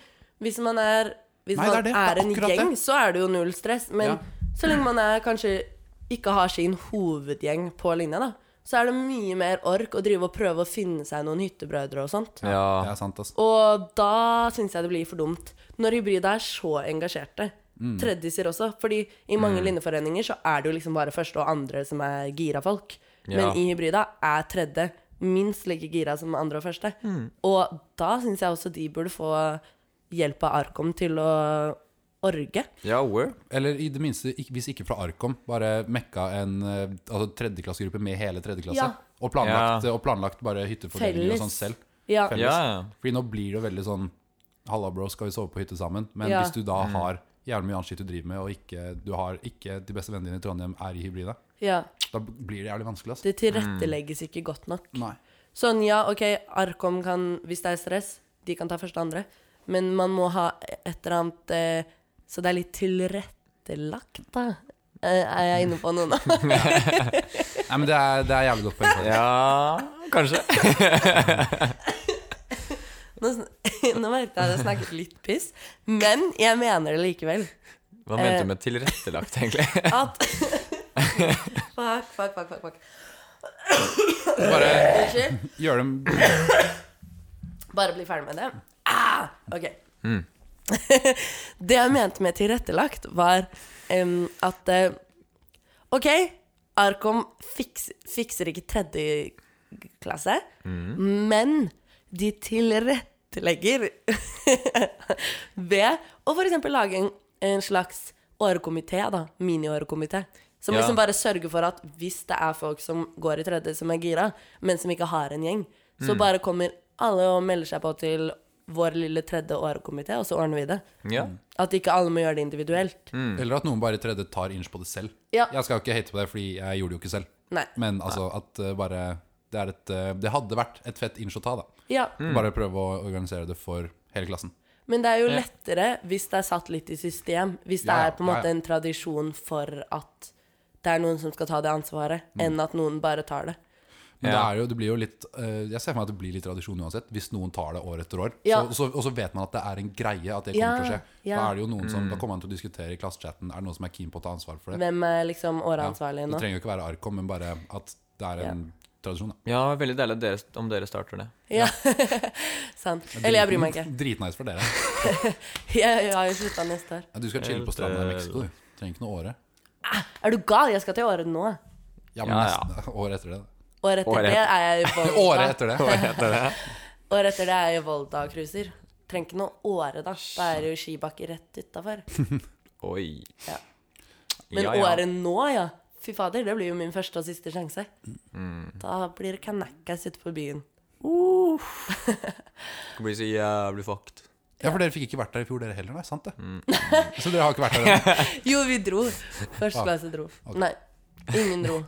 S1: hvis man er Hvis
S2: Nei, det er
S1: man
S2: det.
S1: er,
S2: Det er
S1: en
S2: akkurat
S1: gjeng,
S2: det.
S1: så er det jo null stress. Men
S2: Ja.
S1: så lenge man er kanskje ikke har sin hovedgjeng på linja, da, så er det mye mer ork å drive og prøve å finne seg noen hyttebrødre og sånt.
S2: Det
S3: ja.
S2: er sant, ass.
S1: Og da syns jeg det blir for dumt. Når hybrida er så engasjerte.
S2: Mm.
S1: Treddiser også. Fordi i mange linjeforeninger så er det jo liksom bare første og andre som er gira folk.
S3: Ja.
S1: Men i hybrida er tredje minst like gira som andre og første.
S2: Mm.
S1: Og da syns jeg også de burde få hjelp av Arkom til å orge.
S3: ja, word.
S2: Eller i det minste, ikk- hvis ikke fra Arkom, bare mekka en eh, altså, tredjeklassegruppe med hele tredjeklasse.
S1: Ja.
S2: Og, planlagt,
S3: Ja.
S2: og planlagt bare hyttefordeling
S1: Felles.
S2: og sånn selv.
S1: Ja.
S2: Felles.
S3: Ja, ja.
S2: Fordi nå blir det jo veldig sånn Halla, bro, skal vi sove på hytte sammen? Men
S1: Ja.
S2: hvis du da har jævlig mye annet skitt du driver med, og ikke, du har ikke de beste vennene dine i Trondheim er i hybrida,
S1: ja.
S2: da blir det jævlig vanskelig, altså. ass.
S1: Det tilrettelegges ikke godt nok.
S2: Nei.
S1: Sånn, ja, ok, Arkom kan, hvis det er stress, de kan ta første og andre. Men man må ha et eller annet eh, Så det er litt tilrettelagt, da. Eh, er jeg inne på noe nå? (laughs)
S2: Nei, men det er, det er jævlig godt poeng. faktisk.
S3: Ja, kanskje.
S1: Nå, sn- (laughs) nå merket jeg at jeg snakket litt piss, men jeg mener det likevel.
S3: Hva mente du
S1: Eh.
S3: med tilrettelagt, egentlig?
S1: At (laughs) Fuck, fuck, fuck. fuck, fuck.
S2: Bare
S1: Unnskyld.
S2: gjør dem
S1: Bare bli ferdig med det. Ah, ok. det jeg mente med tilrettelagt, var em, at eh, Ok, Arkom fiks, fikser ikke tredje klasse, men de tilrettelegger (laughs) ved å f.eks. lage en, en slags årekomité, da. Mini-årekomité. Som
S3: Ja.
S1: liksom bare sørger for at hvis det er folk som går i tredje som er gira, men som ikke har en gjeng, så bare kommer alle og melder seg på til vår lille tredje årekomité, og så ordner vi det.
S3: Ja.
S1: At ikke alle må gjøre det individuelt.
S2: Eller at noen bare i tredje tar inch på det selv.
S1: Ja.
S2: Jeg skal ikke hate på det, fordi jeg gjorde det jo ikke selv.
S1: Nei.
S2: Men altså at eh, bare det, er et, eh, det hadde vært et fett inch å ta, da.
S1: Ja.
S2: Bare prøve å organisere det for hele klassen.
S1: Men det er jo
S3: Ja.
S1: lettere hvis det er satt litt i system. Hvis det
S2: Ja, ja,
S1: er på en måte
S2: ja, ja.
S1: en tradisjon for at det er noen som skal ta det ansvaret,
S2: Mm.
S1: enn at noen bare tar det.
S2: Men det,
S3: Ja.
S2: er jo, det blir jo litt eh, Jeg ser for meg at det blir litt tradisjon uansett, hvis noen tar det år etter år.
S1: Ja.
S2: Så, så, og så vet man at det er en greie, at det
S1: Ja,
S2: kommer til å skje. Da
S1: ja. Mm.
S2: er det jo noen som, da kommer man til å diskutere i klassechatten Er det noen som er keen på å ta ansvar for det.
S1: Hvem er liksom
S2: Ja.
S1: åreansvarlig
S2: Det
S1: nå?
S2: trenger jo ikke være Arkom, men bare at det er en tradisjon. Da.
S3: ja, veldig deilig at dere, om dere starter det.
S1: Ja. Sant. Eller jeg bryr meg ikke. (laughs)
S2: (laughs) Dritnice for dere.
S1: Jeg, jeg har jo slutta neste år.
S2: Ja, Du skal chille på stranda i
S1: eh,
S2: Mexico, du. Trenger ikke noe året.
S1: Er du gal? Jeg skal til året nå.
S2: Ja, men
S3: Ja, ja.
S2: nesten (laughs) året etter det. da.
S1: Året etter
S3: Året
S1: det er jeg i
S2: (laughs)
S1: Volda.
S2: Året etter det.
S1: Året etter det er jeg i Volda og cruiser. Trenger ikke noe åre, da. Da er det jo skibakke rett utafor.
S3: Oi.
S1: Ja. Men
S3: Ja, ja.
S1: året nå, ja. Fy fader, det blir jo min første og siste sjanse. Da blir det kanakkas ute på byen.
S3: Det blir så jævlig fucked.
S2: Ja, for dere fikk ikke vært der i fjor, dere heller, nei? Sant det?
S1: Mm.
S2: Så dere har ikke vært
S1: (laughs)
S2: der ennå?
S1: Jo, vi dro.
S3: Ah,
S1: Første klasse dro. Nei, ingen dro.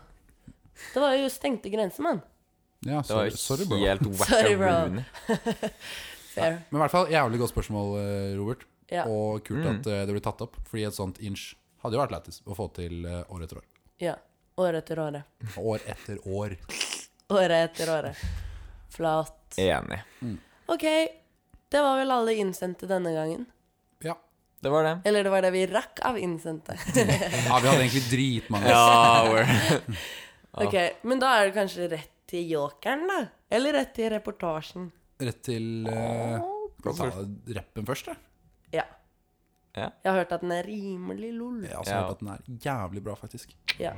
S1: Det var jo stengte grenser, mann.
S2: Ja,
S3: Det var
S2: sorry, sorry, bro.
S1: (laughs)
S3: helt
S1: Sorry, bro.
S3: wackaroon.
S1: Fair.
S2: Men i hvert fall, jævlig godt spørsmål, eh, Robert.
S1: Ja.
S2: Og kult at eh, det ble tatt opp, fordi et sånt inch hadde jo vært lættis å få til eh, år etter år.
S1: Ja. År etter året.
S2: År etter år.
S1: Året etter året. Flat.
S3: Enig.
S1: OK. Det var vel alle innsendte denne gangen.
S2: Ja.
S3: Det var det.
S1: Eller det var det vi rakk av innsendte. (laughs)
S2: ja, vi hadde egentlig dritmange.
S3: Ja, word.
S1: Ok,
S3: Ah.
S1: Men da er det kanskje rett til jokeren, da? Eller rett til reportasjen?
S2: Rett til eh, Skal vi ta rappen først, da?
S1: Ja.
S3: Ja.
S1: Jeg har hørt at den er rimelig lol.
S2: Jeg har også
S3: Ja.
S2: hørt at den altså, er jævlig bra, faktisk.
S1: Ja.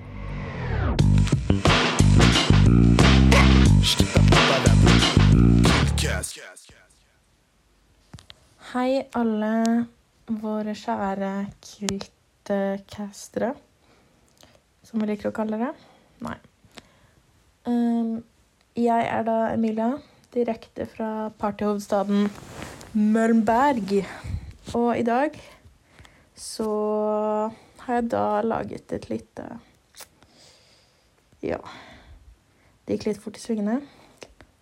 S4: Hei, alle våre kjære kultcastere, som vi liker å kalle dere. Nei. Ehm, jeg er da Emilia, direkte fra partyhovedstaden Møllenberg. Og i dag så har jeg da laget et lite Ja. Det gikk litt fort i svingene,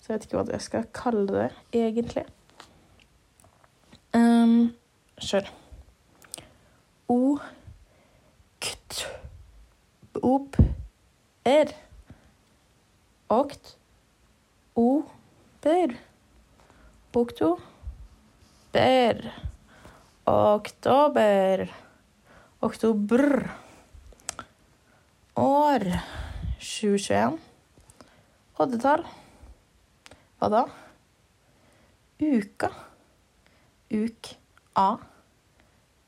S4: så jeg vet ikke hva jeg skal kalle det egentlig. Um, kjør. O kt op er okt o ber bukto ber oktober oktober år 2021 oddetall hva da? Uka uk a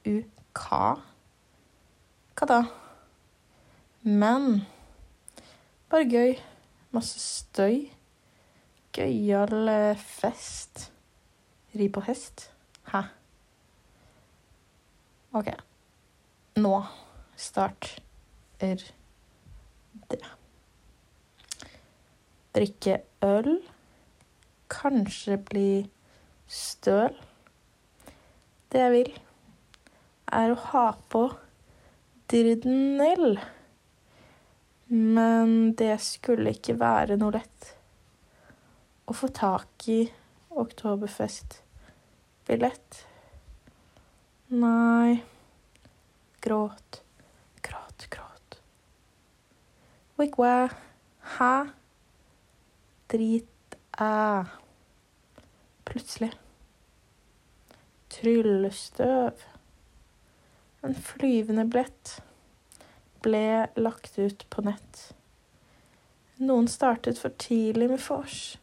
S4: uka hva da? Men bare gøy. Masse støy. Gøyal eh, fest. Ri på hest. Hæ? OK. Nå starter det. Drikke øl. Kanskje bli støl. Det jeg vil, er å ha på Dridnell. Men det skulle ikke være noe lett å få tak i Oktoberfest-billett. Nei. Gråt, gråt, gråt. Wigwa. Hæ? Drit-æ. Plutselig. Tryllestøv. En flyvende billett ble lagt ut på nett. Noen startet for tidlig med vors,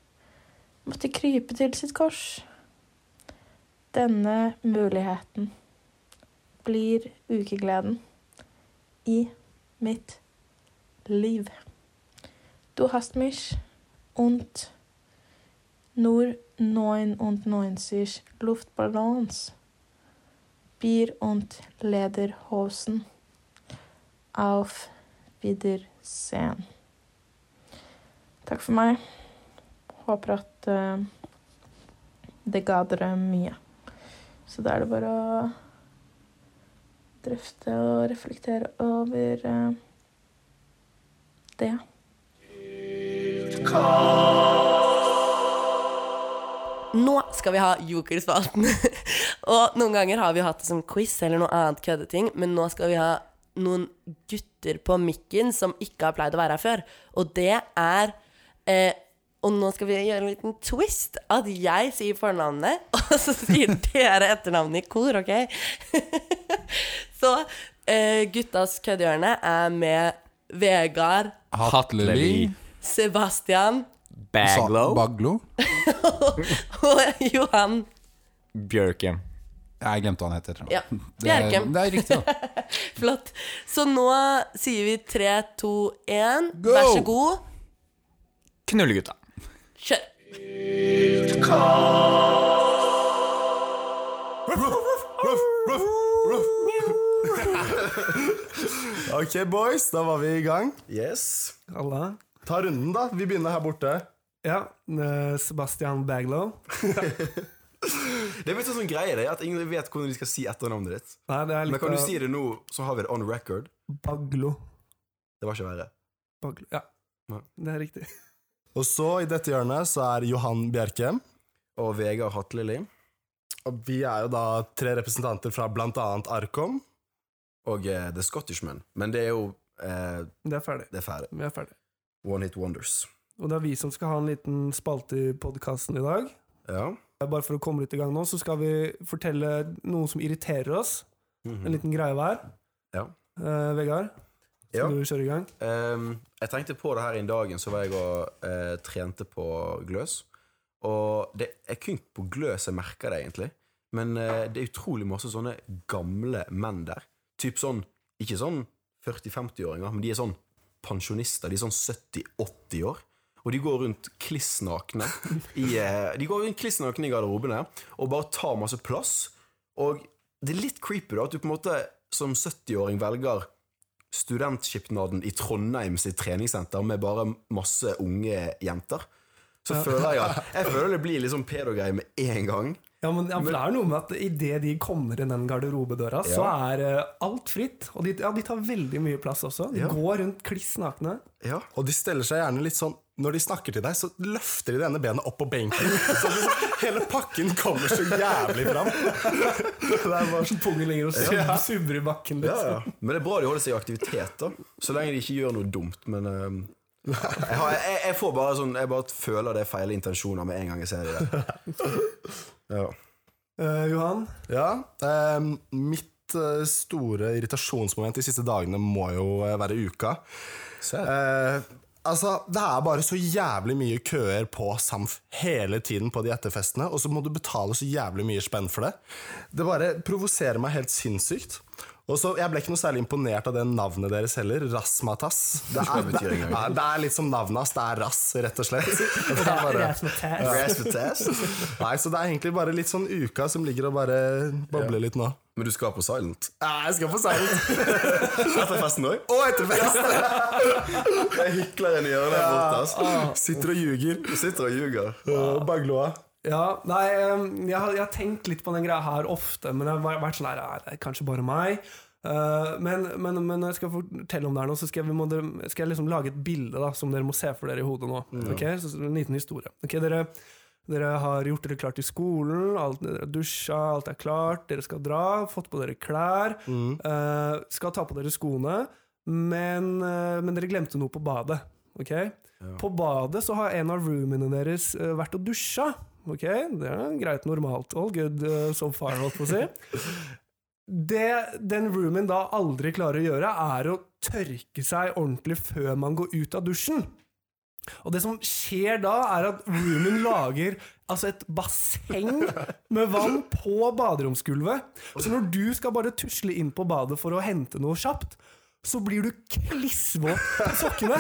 S4: måtte krype til sitt kors. Denne muligheten blir ukegleden i mitt liv. Du hast mich und Nur 99 Luftballons. Bier und Lederhosen. Auf Wiedersehen. Takk for meg. Håper at eh, Det ga dere mye. Så da er det bare å drøfte og reflektere over eh, det.
S1: Nå skal vi ha jokerspalten. (laughs) og noen ganger har vi jo hatt det som quiz eller noe annet køddeting, men nå skal vi ha noen gutter på mikken som ikke har pleid å være her før. Og det er eh, Og nå skal vi gjøre en liten twist. At jeg sier fornavnet, (laughs) og så sier dere etternavnet i kor, OK? (laughs) så eh, guttas køddehjørne er med Vegard,
S2: Hatleli.
S1: Sebastian
S2: Sa-
S3: Baglow.
S2: Baglo.
S1: og (laughs) Johan.
S3: Bjørke.
S2: Jeg glemte hva han heter.
S1: Ja.
S2: Det, er,
S1: Bjerkem.
S2: det er riktig,
S1: (laughs)
S2: da.
S1: Flott. Så nå sier vi 3, 2, 1.
S2: Go!
S1: Vær så god.
S3: Knullegutta.
S1: Kjør.
S5: (laughs) Ok, boys, da var vi i gang.
S6: Yes, alla.
S5: Ta runden, da. Vi begynner her borte.
S6: Ja, eh, Sebastian Baglow.
S5: Det er litt sånn greie det, at ingen vet hvordan de skal si etternavnet ditt.
S6: Nei, det er
S5: Men
S6: litt
S5: kan du
S6: av
S5: si det nå, så har vi det on record.
S6: Baglo.
S5: Det var ikke verre.
S6: Baglo. Ja,
S5: Nei.
S6: det er riktig.
S5: Og så, i dette hjørnet, så er Johan Bjerkem. Og Vegard Hatleli. Og vi er jo da tre representanter fra blant annet Arkom. Og eh, The Scottishman. Men det er jo eh,
S6: Det er ferdig.
S5: Det er fæle.
S6: Vi er ferdig.
S5: One hit wonders.
S6: Og det er vi som skal ha en liten spalte i podkasten i dag.
S5: Ja.
S6: Bare for å komme litt i gang nå, så skal vi fortelle noe som irriterer oss. En liten greie hver.
S5: Mm. Ja.
S6: Eh, Vegard,
S5: ja.
S6: skal du kjøre i gang?
S5: Ehm, jeg tenkte på det her en dagen så var jeg og eh, trente på gløs. Og det er kun på gløs jeg merker det, egentlig. Men eh, det er utrolig masse sånne gamle menn der. Typ sånn, Ikke sånn 40-50-åringer, men de er sånn pensjonister. De er sånn 70-80 år. Og de går rundt klissnakne i, eh, de går rundt klissnakne i garderobene og bare tar masse plass. Og det er litt creepy da, at du på en måte som 70-åring velger studentskipnaden i Trondheim sitt treningssenter med bare masse unge jenter. Så føler jeg
S7: (laughs)
S5: at Jeg føler det blir litt sånn pedo-greie med en gang.
S6: Ja, men, ja, for Det er jo noe med at idet de kommer inn den garderobedøra, så er eh, alt fritt. Og de, ja, de tar veldig mye plass også. De
S5: Ja.
S6: går rundt kliss nakne.
S5: Ja.
S7: Og de steller seg gjerne litt sånn Når de snakker til deg, så løfter de det ene benet opp på benken. (laughs) Så liksom, hele pakken kommer så jævlig fram.
S6: Det er bare så pungen ligger og sub, subber i bakken.
S5: Ja,
S6: Litt.
S5: ja. Men det er bra de holder seg i aktivitet, da. Så lenge de ikke gjør noe dumt. Men eh, jeg, har, jeg, jeg får bare sånn Jeg bare føler det er feil intensjoner med en gang jeg ser de
S7: (laughs)
S5: der. Ja.
S6: Eh, Johan,
S7: Ja, eh, Mitt eh, store irritasjonsmoment de siste dagene må jo eh, være uka. Eh, altså, Det er bare så jævlig mye køer på Samf hele tiden på de etterfestene, og så må du betale så jævlig mye spenn for det. Det bare provoserer meg helt sinnssykt. Og så, Jeg ble ikke noe særlig imponert av det navnet deres heller. Rasmatas. Det er, det,
S5: betyr det engang?
S7: ja, det er litt som navnet hans. Det er rass, rett og slett. Og (laughs) det er bare, nei, Så det er egentlig bare litt sånn uka som ligger og bare bobler litt nå.
S5: Men du skal på silent?
S7: Nei, jeg skal på seilen.
S5: Etter festen òg?
S7: Og etter fest!
S5: Jeg hykler en i hjørnet her borte. altså. ass.
S7: Sitter og ljuger.
S5: Du Ah. sitter og ljuger.
S7: Øh, Bagloa.
S6: Ja, nei, eh, jeg har, jeg har tenkt litt på den greia her ofte, men jeg har vært- vært sånn her, "Nei, det er kanskje bare meg. Eh, men, men, men når jeg skal fortelle om det her nå, så skal jeg, vi må, dere- skal jeg liksom lage et bilde da, som dere må se for dere i hodet nå.
S5: Mm.
S6: Ok, så, så En liten historie. Ok, dere, dere har gjort dere klart til skolen, alt, dere har dusja, alt er klart, dere skal dra, fått på dere klær,
S7: Mm.
S6: eh, skal ta på dere skoene, men, eh, men dere glemte noe på badet. Ok? På badet så har en av roomiene deres eh, vært og dusja. Ok, det er greit normalt. All good eh, so far, holdt på å si. Det den roomien da aldri klarer å gjøre, er å tørke seg ordentlig før man går ut av dusjen. Og det som skjer da, er at roomien lager altså et basseng med vann på baderomsgulvet. Så når du skal bare tusle inn på badet for å hente noe kjapt, så blir du klissvåt på sokkene.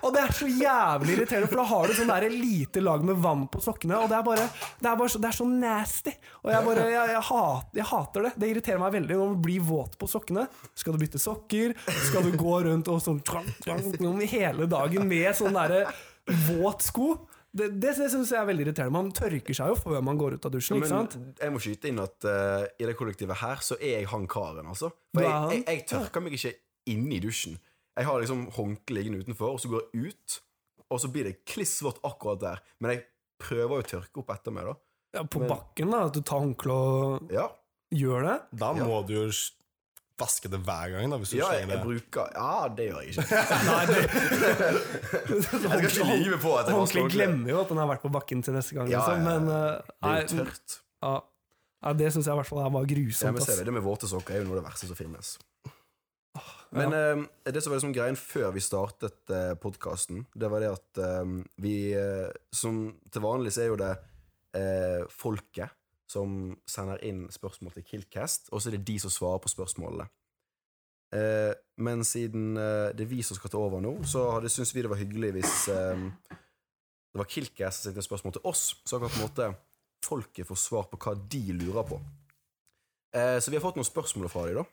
S6: Og det er så jævlig irriterende, for da har du sånn der lite lag med vann på sokkene. Og det er bare, det er bare så, det er så nasty. Og jeg, bare, jeg, jeg, hat, jeg hater det. Det irriterer meg veldig når man blir våt på sokkene. Skal du bytte sokker? Skal du gå rundt og sånn trang, trang, trang, hele dagen med sånn derre våt sko? Det, det, det syns jeg er veldig irriterende. Man tørker seg jo før man går ut av dusjen. ikke sant?
S5: Men jeg må skyte inn at eh, i det kollektivet her, så er jeg han karen, altså. For
S6: Du er
S5: jeg,
S6: han?
S5: jeg, jeg tørker meg ikke inne i dusjen. Jeg har liksom håndkle liggende utenfor, og så går jeg ut, og så blir det klissvått akkurat der. Men jeg prøver jo å tørke opp etter meg, da.
S6: Ja, på
S5: Men-
S6: bakken, da. At du tar håndkle og
S5: Ja,
S6: gjør det.
S7: Da må du jo s- vaske det hver gang, da, hvis du
S5: ja jeg,
S7: slenger
S5: jeg
S7: det.
S5: bruker Ja, det gjør
S6: (laughs)
S5: jeg ikke.
S6: Nei, det,
S5: (laughs) Jeg skal ikke lyve på at jeg vasker
S6: Håndkle
S5: håndkle.
S6: glemmer jo at den har vært på bakken til neste gang,
S5: Ja,
S6: liksom.
S5: ja, ja.
S6: Men eh,
S5: Det er jo
S6: nei, sånn
S5: tørt.
S6: ja. Ja, det syns jeg i hvert fall er bare
S5: Ja,
S6: grusomt.
S5: men se
S6: ass.
S5: det, det med våte sokker er jo noe av det verste som finnes. Men eh, det som var liksom greien før vi startet eh, podkasten, det var det at eh, vi eh, Som til vanlig så er jo det eh, folket som sender inn spørsmål til Killcast, og så er det de som svarer på spørsmålene. Eh, men siden eh, det er vi som skal ta over nå, så hadde syns vi det var hyggelig hvis eh, det var Killcast som sendte spørsmål til oss, så kan på en måte folket få svar på hva de lurer på. Eh, så vi har fått noen spørsmål fra dem, da.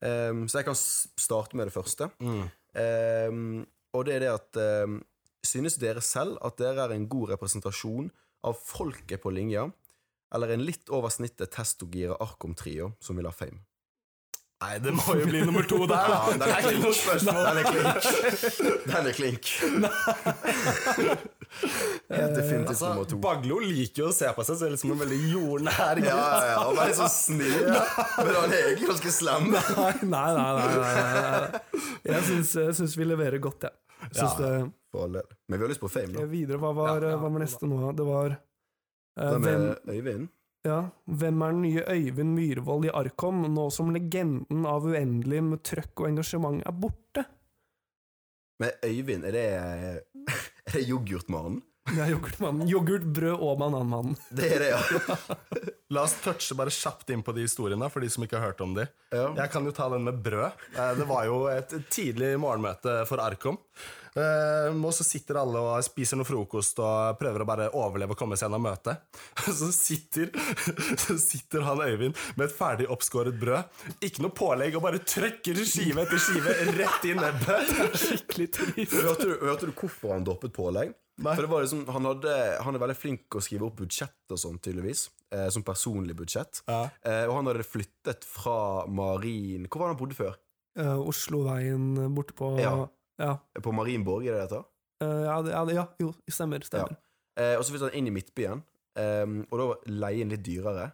S5: Ehm, så jeg kan s- starte med det første.
S7: Mm.
S5: Ehm, og det er det at ehm, Synes dere selv at dere er en god representasjon av folket på linja, eller en litt over snittet testogira Arkom-trio som vil ha fame?
S7: Nei, det må jo bli nummer (laughs) to der, da.
S5: Ja, den er ikke noe spørsmål. Den er klink. Den er klink. Helt definitivt nummer
S7: Altså,
S5: to.
S7: Baglo liker jo å se på seg selv som en veldig jordnær
S5: Ja, ja, ja. Han er så snill, men han er egentlig ganske slem.
S6: (laughs) Nei, nei, nei. nei, nei, nei. Jeg syns, jeg syns vi leverer godt, jeg. Ja. Syns det-
S5: For all del. Men vi har lyst på fame, da.
S6: jeg. Videre, hva var, hva var neste nå? Det var eh,
S5: Den
S6: hvem,
S5: med Øyvind.
S6: ja, hvem er den nye Øyvind Myhrvold i Arkom, nå som legenden av Uendelig med trøkk og engasjement er borte?
S5: Men Øyvind, er det, er det yoghurtmannen?
S6: Det er yoghurtmannen. Yoghurt, brød og bananmannen.
S5: Det er det, ja.
S7: La oss touche bare kjapt inn på de historiene for de som ikke har hørt om de.
S5: ja.
S7: Jeg kan jo ta den med brød. Eh, Det var jo et tidlig morgenmøte for Arkom. Eh, Og så sitter alle og spiser noe frokost og prøver å bare overleve og komme seg gjennom møtet. (laughs) Og Så sitter, (laughs) så sitter han Øyvind med et ferdig oppskåret brød. Ikke noe pålegg, og bare trøkker skive etter skive rett i nebbet.
S6: (laughs) Skikkelig trist.
S5: Hørte, du, hørte du hvorfor han droppet pålegg? For det var liksom, han, hadde, han er veldig flink til å skrive opp budsjett og sånn, tydeligvis. Eh, som personlig budsjett.
S7: Ja.
S5: Eh, og han hadde flyttet fra Marin Hvor var det han bodde før?
S6: Eh, Osloveien eh, borte på
S5: Ja.
S6: Ja.
S5: På Marienborg, er det det heter?
S6: Eh, ja, det- ja, det- ja, jo, stemmer. stemmer.
S5: Eh, og så flyttet han inn i Midtbyen. ehm, og da var leien litt dyrere.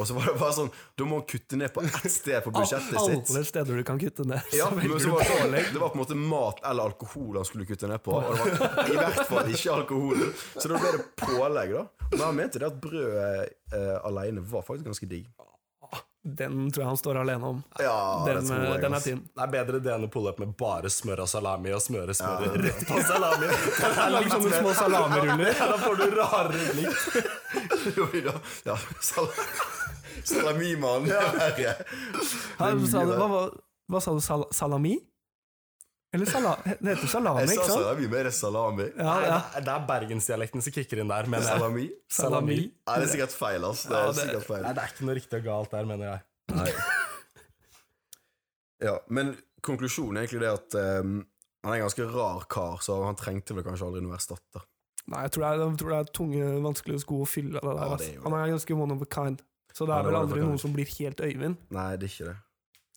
S5: Og så var det bare sånn Da må han kutte ned på
S7: (laughs)
S5: ett sted på budsjettet
S6: Al-
S5: sitt.
S6: Alle steder du kan kutte ned.
S5: Ja,
S6: så
S5: men
S6: velger
S5: så
S6: du
S5: var det, sånn, det var på en måte mat eller alkohol han skulle kutte ned på. Og det var i hvert fall ikke alkohol. Så da ble det pålegg, da. Men han mente det at brød eh, alene var faktisk ganske digg.
S6: Den tror jeg han står alene om.
S5: Ja,
S6: den,
S5: tror
S6: eh,
S5: jeg,
S6: den er
S5: ass.
S6: tynn.
S7: Det er bedre det enn å pulle opp med bare smør og salami og smøre smøret (laughs) rett på
S5: (laughs)
S7: salami. Det er
S6: Lag
S7: litt
S6: sånne
S7: mer-
S6: små salamiruller.
S7: Ja, Da får du rare rulling.
S5: (laughs) Jo, ja, ja, (laughs) sal Salamimann. Ja.
S6: Her, sa du, hva, var- hva sa du? Sal salami? Eller sala det heter salami,
S5: Jeg
S6: ikke
S5: sa
S6: sant?
S5: salami, men er det salami?
S6: Ja,
S7: Nei,
S6: ja.
S7: det er- Det er bergensdialekten som kicker inn der, mener jeg.
S5: Salami?
S6: Salami.
S5: Nei, det er sikkert feil, ass. Det
S6: eh, Ja,
S5: er
S6: det-
S5: sikkert feil.
S7: Nei, det er ikke noe riktig og galt der, mener jeg.
S5: Ja, men konklusjonen er egentlig det at ehm, han er en ganske rar kar, så han trengte vel kanskje aldri noen erstatter.
S6: Nei, jeg tror det, er, jeg tror det er tunge, vanskelige sko å fylle. Det der,
S5: Ja,
S6: ass.
S5: det er jo det.
S6: Han er ganske one of a kind. Så det
S5: Ja,
S6: er
S5: det var
S6: vel
S5: det
S6: aldri
S5: for
S6: noen
S5: kanskje.
S6: som blir helt Øyvind,
S5: Nei, det er ikke det.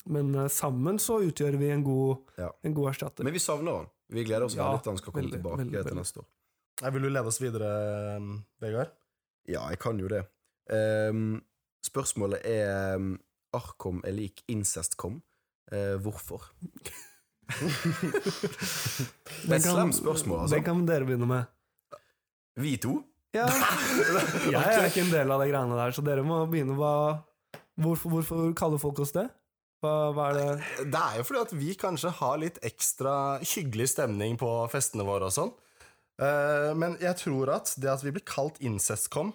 S6: men eh, sammen så utgjør vi en god,
S5: Ja.
S6: en god erstatter.
S5: Men vi savner han. Vi gleder oss
S6: Ja,
S5: veldig til han skal komme
S6: veldig,
S5: tilbake
S6: veldig,
S5: til
S6: veldig.
S5: neste år.
S7: Jeg Eh, vil jo leve oss videre, um, Vegard.
S5: Ja, jeg kan jo det. Ehm, spørsmålet er ehm, Arkom er lik incestcom. Eh, hvorfor? det er et slemt spørsmål, altså.
S6: Den kan dere begynne med.
S5: Vi to? (laughs)
S6: Ja. Jeg er ikke en del av de greiene der, så dere må begynne. Hva, hvorfor, hvorfor kaller folk oss det? Hva, hva er det?
S7: Det er jo fordi at vi kanskje har litt ekstra hyggelig stemning på festene våre og sånn. Eh, men jeg tror at det at vi blir kalt incestcom,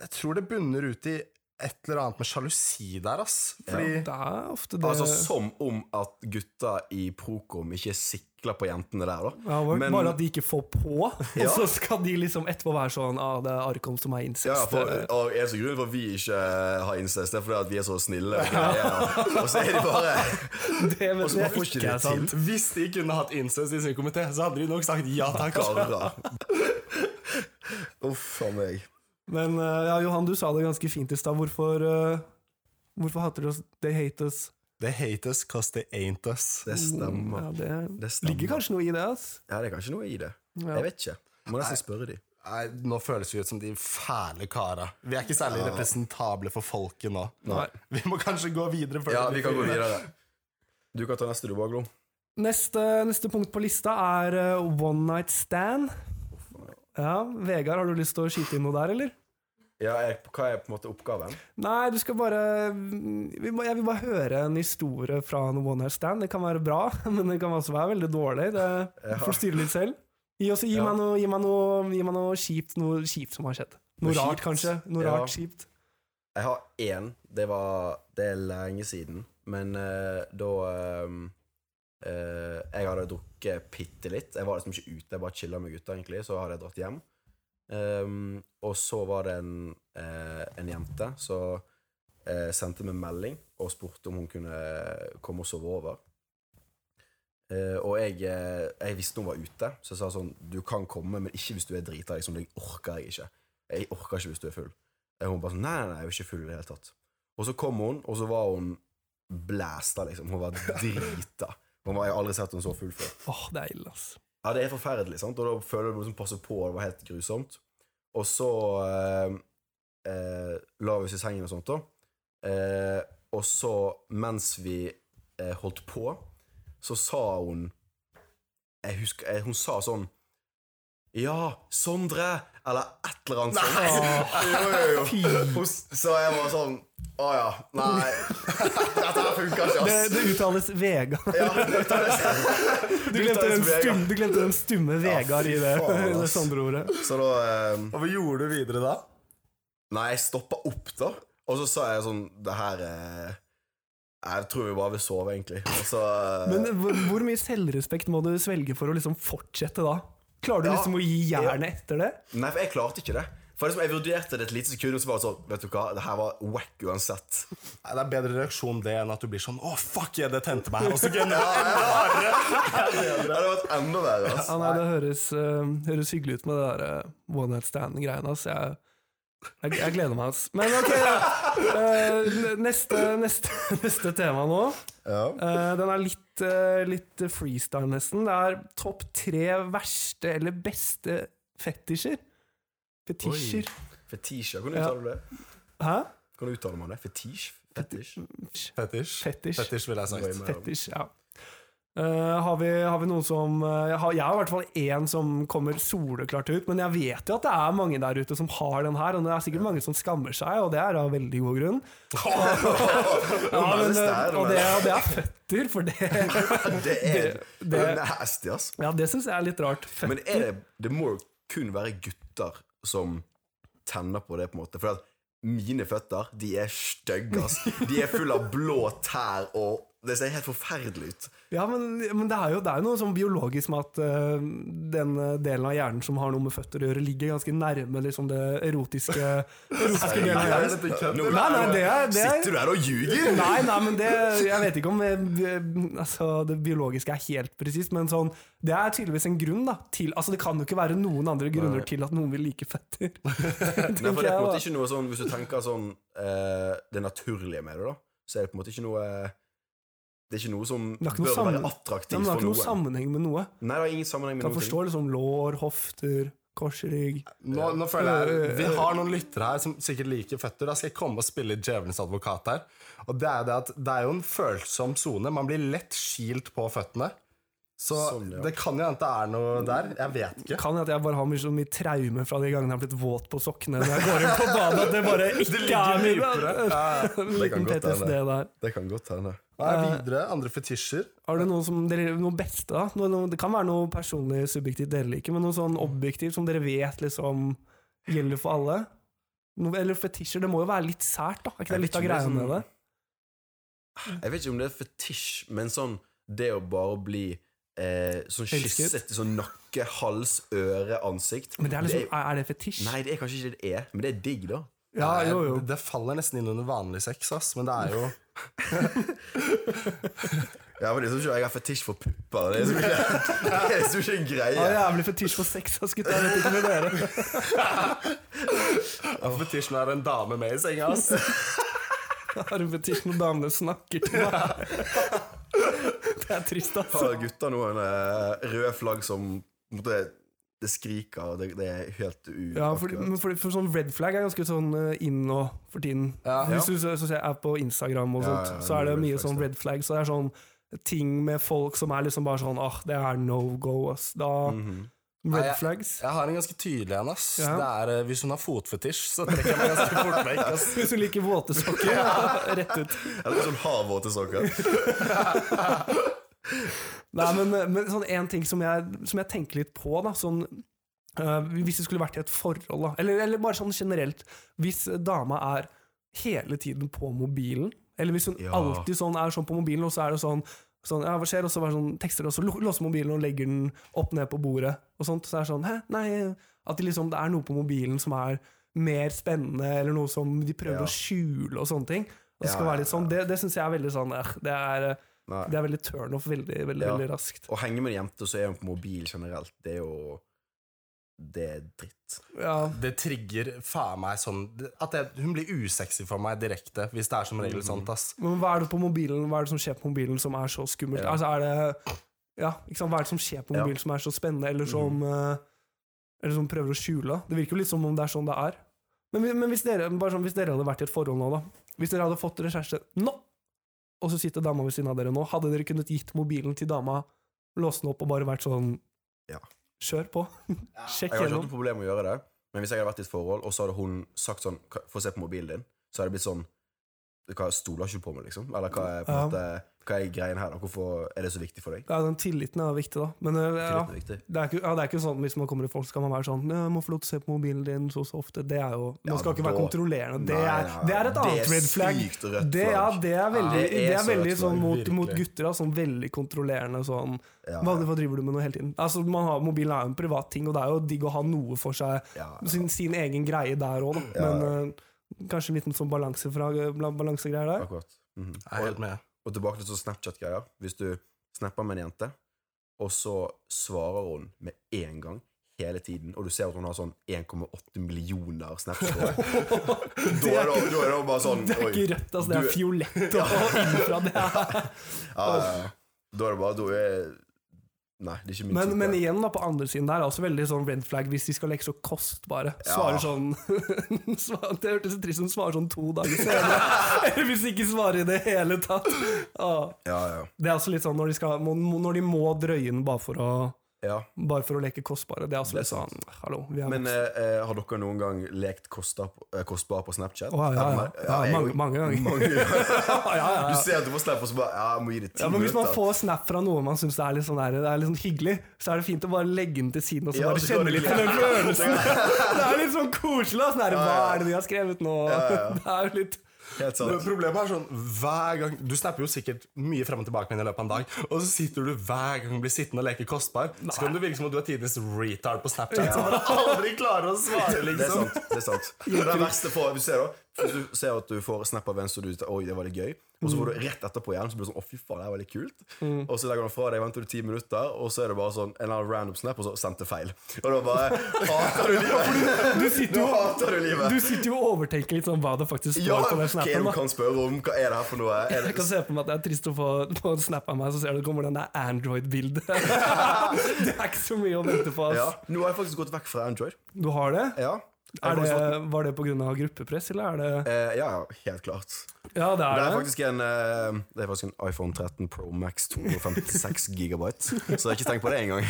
S7: jeg tror det bunner ut i et eller annet med sjalusi der, ass. Fordi
S6: Det er ofte det
S5: Altså som om at gutta i Prokom ikke sikler på jentene der, da.
S6: ja, bare,
S5: men-
S6: bare at de ikke får på,
S5: Ja.
S6: (laughs) og så skal de liksom etterpå være sånn ah, 'Det er Arkom som er incest'.
S5: Ja, ja, for, og eneste grunnen for at vi ikke eh, har incest, det er fordi at vi er så snille.
S6: (laughs)
S5: Og, greier. og så er de bare
S6: (laughs) det
S5: og
S6: vet
S5: så bare får
S6: jeg
S5: ikke
S6: ikke
S5: det
S6: er sant.
S5: altså.
S7: (laughs) hvis de kunne hatt incest i sin komité, så hadde de nok sagt ja takk.
S5: karer. Uff a meg.
S6: Men eh, ja, Johan, du sa det ganske fint i stad. Hvorfor, eh, hvorfor hater de oss? They hate us.
S7: They hate us cause they ain't us.
S5: Det stemmer.
S6: Ja, det,
S5: Det stemmer.
S6: ligger kanskje noe i det. ass.
S5: Ja, det er kanskje noe i det.
S6: Ja.
S5: Jeg vet ikke. Må nesten spørre de.
S7: Nei, nå føles vi ut som de fæle kara. Vi er ikke særlig representable for folket nå.
S6: Nei.
S7: (laughs) Vi må kanskje gå videre. før
S5: Ja,
S7: det
S5: vi
S7: blir
S5: kan gå
S7: fine.
S5: videre. Du kan ta neste, du, Baglo.
S6: Neste, neste punkt på lista er eh, One Night Stand. Ja, Vegard, har du lyst til å skyte inn noe der, eller?
S5: Ja, jeg, hva er på en måte oppgaven?
S6: Nei, du skal bare vi må, Jeg vil bare høre en historie fra en one night stand. Det kan være bra, (laughs) men det kan også være veldig dårlig. Det
S5: Ja.
S6: får styre litt selv. Gi, oss, gi,
S5: Ja.
S6: meg noe, gi meg noe, gi meg noe, kjipt, noe kjipt som har skjedd. Noe,
S5: Noe
S6: rart,
S5: kjipt?
S6: kanskje. Noe
S5: Ja.
S6: rart kjipt.
S5: Jeg har én. Det var Det er lenge siden. Men eh, da eh, eh, Jeg hadde drukket bitte litt. Jeg var liksom ikke ute, jeg bare chilla med gutta, egentlig. Så hadde jeg dratt hjem. Ehm, og så var det en, eh, en jente som eh, sendte meg melding og spurte om hun kunne komme og sove over. Eh, og jeg, eh, jeg visste hun var ute, så jeg sa sånn Du kan komme, men ikke hvis du er drita. Liksom, det orker jeg ikke. Jeg orker ikke hvis du er full. Eh, Hun bare sånn Nei, nei, nei, jeg er ikke full i det hele tatt. Og så kom hun, og så var hun blæsta, liksom. Hun var drita. Hun var, jeg har aldri sett henne så full før.
S6: Åh, det er ille, ass.
S5: Ja, det er forferdelig, sant? og da føler du liksom passe på, og det var helt grusomt. Og så eh, eh, la vi oss i sengen og sånt, da. Eh, og så, mens vi eh, holdt på, så sa hun Jeg husker eh, Hun sa sånn Ja, Sondre! Eller et eller annet sånt. Jo, jo, jo. Hun s- (laughs) Så jeg var sånn Å ja. Nei. (laughs) Dette her funker ikke,
S6: Det,
S5: ass.
S6: det uttales Vegard.
S5: Ja, det tar jeg.
S6: Du glemte
S5: uttales
S6: den
S5: Vegard.
S6: stumme, du glemte den stumme Vegard i det,
S5: faen,
S6: det
S5: ass.
S6: Sondre-ordet.
S5: Så da eh,
S7: Og hva gjorde du videre da?
S5: Nei, jeg stoppa opp, da. Og så sa jeg sånn Det her eh, Jeg tror vi bare vil sove, egentlig. Og så eh,
S6: Men hvor, hvor mye selvrespekt må du svelge for å liksom fortsette da? Klarer du
S5: Ja.
S6: liksom å gi jernet etter det?
S5: Nei, for jeg klarte ikke det. For liksom, Jeg vurderte det et lite sekund, og så var det sånn Vet du hva, det her var wack
S6: (laughs)
S5: uansett.
S7: Nei, Det er bedre reaksjon det enn at du blir sånn Å, fuck yeah, det tente meg. Og så kunne jeg
S5: Det hadde vært enda verre. ass.
S6: Ja, nei, det høres, eh, høres hyggelig ut med det der eh, one night stand-greiene. ass. Jeg, jeg, jeg gleder meg, ass. Men ok, eh, n- neste, neste, (laughs) neste tema nå. Eh, den er litt, eh, litt freestyle, nesten. Det er topp tre verste eller beste fetisjer. Fetisjer.
S5: Fetisja, kan du
S6: Ja.
S5: uttale det?
S6: Hæ?
S5: Kan du uttale meg om det? Fetisj? Fetisj?
S6: (laughs)
S7: Fetisj.
S6: Fetisj.
S7: Fetisj, ville jeg sagt.
S6: Fetisj, ja. Eh, har, vi, har vi noen som eh, har, Jeg har i hvert fall én som kommer soleklart ut, men jeg vet jo at det er mange der ute som har den her, og det er sikkert mange som skammer seg, og det er av veldig god (laughs) grunn. (laughs) Ja, eh, men, eh, og det, og det er føtter, for det (laughs)
S5: Det er
S6: det-
S5: det er nasty, ass.
S6: Ja, det syns jeg er litt rart. (laughs) Føtter.
S5: Men er det, det må jo kun være gutter som tenner på det, på en måte. For at mine føtter, de er stygge, ass. De er fulle av blå tær, og det ser helt forferdelig ut.
S6: Ja, men, men det er jo det er jo noe sånn biologisk med at eh, den delen av hjernen som har noe med føtter å gjøre, ligger ganske nærme liksom, det (laughs) erotiske, erotiske delen av hjernen.
S5: Nå-
S6: Nei, nei, det er, det er
S5: Sitter du her og ljuger?
S6: Nei,
S5: (laughs)
S6: nei, men det Jeg vet ikke om eh, altså, det biologiske er helt presist, men sånn Det er tydeligvis en grunn, da. Til, altså, det kan jo ikke være noen andre grunner til at noen vil like føtter.
S5: Nei, for det er på en måte
S6: Tenker jeg, da.
S5: ikke noe sånn Hvis du tenker sånn eh, det naturlige med det, da, så er det på en måte ikke noe eh, Det er ikke noe som
S6: er ikke noe
S5: bør være
S6: sammen-
S5: attraktivt
S6: Ja, men det har
S5: for
S6: ikke
S5: noen.
S6: noe sammenheng med noe.
S5: Nei, det har ingen sammenheng med
S6: Kan
S5: noen ting.
S6: forstå liksom lår, hofter, korsrygg
S7: Nå, nå føler jeg Vi har noen lyttere her som sikkert liker føtter. Da skal jeg komme og spille djevelens advokat her. Og det er jo det at det er jo en følsom sone. Man blir lett kilt på føttene. Så
S5: Sånn, ja.
S7: det kan jo hende det er noe der. Jeg vet ikke.
S6: Kan hende at jeg bare har mye, så mye traume fra de gangene jeg har blitt våt på sokkene når jeg går inn på badet, at det
S5: (laughs)
S6: bare ikke er min
S5: Det kan
S6: Liten
S5: godt
S6: PTSD
S5: hende.
S6: der.
S5: Det kan godt hende.
S7: Hva er videre? Andre fetisjer?
S6: Har du noe, som dere, noe beste, da? Noe, noe, det kan være noe personlig subjektivt dere liker, men noe sånn objektivt som dere vet liksom gjelder for alle? Noe, eller fetisjer. Det må jo være litt sært, da? Er ikke
S5: Jeg
S6: det
S5: vet
S6: litt av
S5: ikke om det er
S6: greia
S5: sånn-
S6: med det?
S5: Jeg vet ikke om det er fetisj, men sånn det å bare bli eh, sånn
S6: Elsket.
S5: kysset i sånn nakke, hals, øre, ansikt
S6: Men det er
S5: det
S6: liksom, er, er det fetisj?
S5: Nei, det er kanskje ikke det det er, men det er digg, da.
S6: Ja,
S7: Nei,
S6: jo, jo.
S7: Det, det faller nesten inn under vanlig sex, ass, men det er jo
S5: Ja, men det er sånn at Jeg har fetisj for pupper. Det er liksom ikke, (laughs) det er liksom ikke en
S6: Jeg har
S5: greie.
S6: jævlig fetisj for sex, ass, gutta. Jeg vet ikke med dere.
S7: Fetisjen er en dame med i senga, ass.
S6: Jeg har en fetisj når damene snakker til meg. (laughs) Det er trist, ass.
S5: Har gutta noen eh, røde flagg som på en måte, det skriker, og det, det er helt u...
S6: Ja, for, men for, for sånn red flag er ganske sånn eh, inn nå for tiden. Hvis du så, så ser jeg er på Instagram og
S5: Ja,
S6: sånt,
S5: ja,
S6: så er det
S5: red
S6: mye
S5: flags, ja.
S6: sånn red flag. Så det er sånn ting med folk som er liksom bare sånn Åh, det er no go, ass. Da
S7: Mm. Nei,
S6: Red
S7: jeg-
S6: flags.
S7: Jeg har en ganske tydelig en, ass.
S6: Ja.
S7: Det er, eh, hvis hun har fotfetisj, så trekker jeg meg ganske fort vekk, ass.
S6: (laughs) Hvis du liker våte sokker, ja, (laughs) rett ut.
S5: Eller sånn har våte sokker.
S6: Nei, men, men sånn en ting som jeg, som jeg tenker litt på, da, sånn eh, Hvis det skulle vært i et forhold, da, eller, eller bare sånn generelt Hvis dama er hele tiden på mobilen, eller hvis hun
S5: Ja.
S6: alltid sånn er sånn på mobilen, og så er det sånn Sånn, ja, hva skjer? Og så bare sånn tekster, og så lo- låser mobilen og legger den opp ned på bordet. Og sånt, så er det sånn, hæ, nei At det liksom, det er noe på mobilen som er mer spennende, eller noe som de prøver
S5: Ja.
S6: å skjule, og sånne ting. Og det
S5: Ja,
S6: skal være
S5: ja,
S6: litt sånn, Det, det syns jeg er veldig sånn eh, Det er, eh,
S5: Nei.
S6: det er veldig turn off veldig, veldig,
S5: Ja.
S6: veldig raskt.
S5: Å henge med en jente, så er hun på mobil generelt. Det er jo Det er dritt.
S6: Ja,
S7: Det trigger faen meg sånn At jeg, hun blir usexy for meg direkte, hvis det er som
S6: Mm.
S7: regel sånt, ass.
S6: men hva er det på mobilen Hva er det som skjer på mobilen som er så skummelt?
S5: Ja.
S6: Altså er det ja, ikke sant? Hva er det som skjer på
S5: Ja. Mm.
S6: mobilen som er så spennende, eller som, eh, eller som prøver å skjule? Det virker jo litt som om det er sånn det er. Men, vi- men hvis, dere, bare sånn, hvis dere hadde vært i et forhold nå, da Hvis dere hadde fått dere kjæreste nå, og så sitter dama ved siden av dere nå, hadde dere kunnet gitt mobilen til dama, låst den opp og bare vært sånn
S5: Ja.
S6: Kjør på.
S5: Jeg har
S6: Sjekk
S5: ikke hatt
S6: gjennom.
S5: noe problem med å gjøre det, men hvis jeg hadde vært i et forhold, og så hadde hun sagt sånn "Ka- Få se på mobilen din, så hadde det blitt sånn Hva stoler ikke du på meg, liksom? Eller hva er, på en
S6: Ja.
S5: måte, hva er greien her? da? Hvorfor er det så viktig for deg?
S6: Ja, den tilliten er viktig, da. Men eh, ja,
S5: Tilliten er viktig.
S6: Det er, ikke, ja, det er ikke sånn Hvis man kommer til folk, skal man være sånn «Nei, 'Jeg må få lov til å se på mobilen din så så ofte.' Det er jo Man
S5: Ja,
S6: skal ikke være
S5: da-
S6: kontrollerende. Det
S5: Nei,
S6: er,
S5: nei, nei.
S6: det er et
S5: Det
S6: annet
S5: er
S6: red flag.
S5: sykt rødt
S6: Det, ja,
S5: flagg.
S6: det er
S5: Ja,
S6: veldig,
S5: det
S6: det
S5: er
S6: er
S5: så
S6: veldig
S5: rødt
S6: sånn
S5: flagg,
S6: mot, mot
S7: virkelig.
S6: gutter. Da, sånn veldig kontrollerende sånn
S5: Ja,
S6: hva, 'Hva driver du med nå hele tiden?' Altså, man har, Mobilen er jo en privat ting, og det er jo digg å ha noe for seg.
S5: Ja,
S6: Sin, sin egen greie der òg, da. Men eh, kanskje en liten sånn balansefra- balansegreier der.
S5: akkurat. Mhm.
S7: Jeg er helt med.
S5: Og tilbake til sånn Snapchat-greier. Hvis du snapper med en jente, og så svarer hun med en gang hele tiden, og du ser at hun har sånn 1,8 millioner snaps
S6: (laughs)
S5: på deg, (laughs) da er det- da er det jo bare sånn
S6: Det er
S5: Oi.
S6: ikke rødt, altså. Det er
S5: Du-
S6: fiolett og og infra. Det er
S5: Ja, ja, ja. Da er det bare Da er Nei, det er ikke min
S6: Men,
S5: type.
S6: men igjen, da, på andre siden der, er også veldig sånn red flag hvis de skal leke så kostbare.
S5: Ja.
S6: Svarer sånn (laughs) svar- Det hørtes så trist ut, svarer sånn to dager senere. (laughs) Eller hvis de ikke svarer i det hele tatt. Ja.
S5: Ja, ja.
S6: Det er også litt sånn når de, skal, må- må- når de må drøye den bare for å
S5: ja.
S6: bare for å leke kostbare. Det er også
S5: Det er
S6: litt sånn
S5: sant.
S6: Hallo, vi er
S5: Men eh, eh, har dere noen gang lekt kosta, eh, kostbar på Snapchat?
S6: Å, ja, ja, ja. Ja,
S5: jeg-
S6: mange- mange ganger. (laughs) ja, ja, (laughs)
S5: (laughs)
S6: ja.
S5: Du ser at du får snap, og så bare Ja, jeg må gi det ti
S6: Ja, men Hvis man
S5: minutter.
S6: får snap fra noe man syns er litt sånn der, det er litt sånn hyggelig, så er det fint å bare legge den til siden og så
S5: Ja,
S6: bare
S5: så går
S6: kjenne
S5: det
S6: litt
S5: litt.
S6: på den
S5: (laughs)
S6: følelsen. Det er litt sånn koselig. ass. Det er, Hva er det de har skrevet nå? (laughs) Det er jo litt
S5: Helt
S7: Men
S5: sant.
S7: problemet er sånn hver gang Du snapper jo sikkert mye frem og tilbake med henne i løpet av en dag, og så sitter du hver gang du blir sittende og leker kostbar. Så kan det virke som om du er tidenes retard på Snapchat som bare aldri klarer å svare,
S5: Det er
S7: liksom.
S5: sant. det er
S7: (laughs)
S5: sant Det er verste for, Du ser da hvis Du ser at du får snap av en som du Oi, det var litt gøy. Og så får du rett etterpå igjen, så blir du sånn Å, fy faen, det her var litt kult.
S7: Mm.
S5: Og så legger du den fra deg, venter du ti minutter, og så er det bare sånn en eller annen random snap, og så sendte feil. Og da
S7: (laughs)
S5: bare Hater du livet?
S6: Du sitter
S5: (laughs) Nå
S6: jo,
S5: hater du livet.
S6: du sitter jo og overtenker litt sånn hva det faktisk står
S5: Ja, hva
S6: på
S5: er
S6: den
S5: det
S6: snappen.
S5: du
S6: Da.
S5: kan spørre om? Hva er det her for noe? Er
S6: (laughs) Jeg
S5: det,
S6: kan se på meg at det er trist å få få en snap av meg, så ser du kommer den der
S5: (laughs)
S6: Android-bildet. Det er ikke så mye å vente på.
S5: ja.
S6: ass.
S5: Nå har jeg faktisk gått vekk fra Android.
S6: Du har det?
S5: Ja, sånn.
S6: Er det var det pga. gruppepress, eller er det
S5: Eh, ja, ja, helt klart.
S6: Ja, det
S5: Det
S6: er
S5: er
S6: det.
S5: faktisk en, eh, det er faktisk en iPhone 13 Pro Max 256 gigabyte. Så jeg har ikke tenkt på det engang.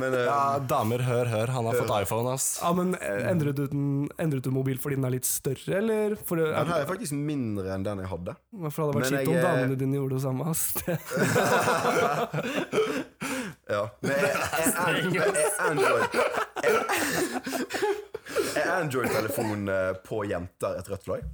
S5: (laughs) Men eh,
S7: Ja, damer, hør, hør. Han har fått iPhone, ass.
S6: Ja, men eh, Endret du, den, endret du mobil fordi den er litt større, eller? For det,
S5: den her er faktisk mindre enn den jeg hadde.
S6: for det hadde vært
S5: Men
S6: kjipt om
S5: jeg, eh,
S6: damene dine gjorde det samme. Ass. (laughs) Det-
S5: Ja. Men jeg, jeg, jeg, jeg, jeg, Android jeg- Er Android-telefon eh,
S6: Oh.
S5: på jenter et rødt flagg?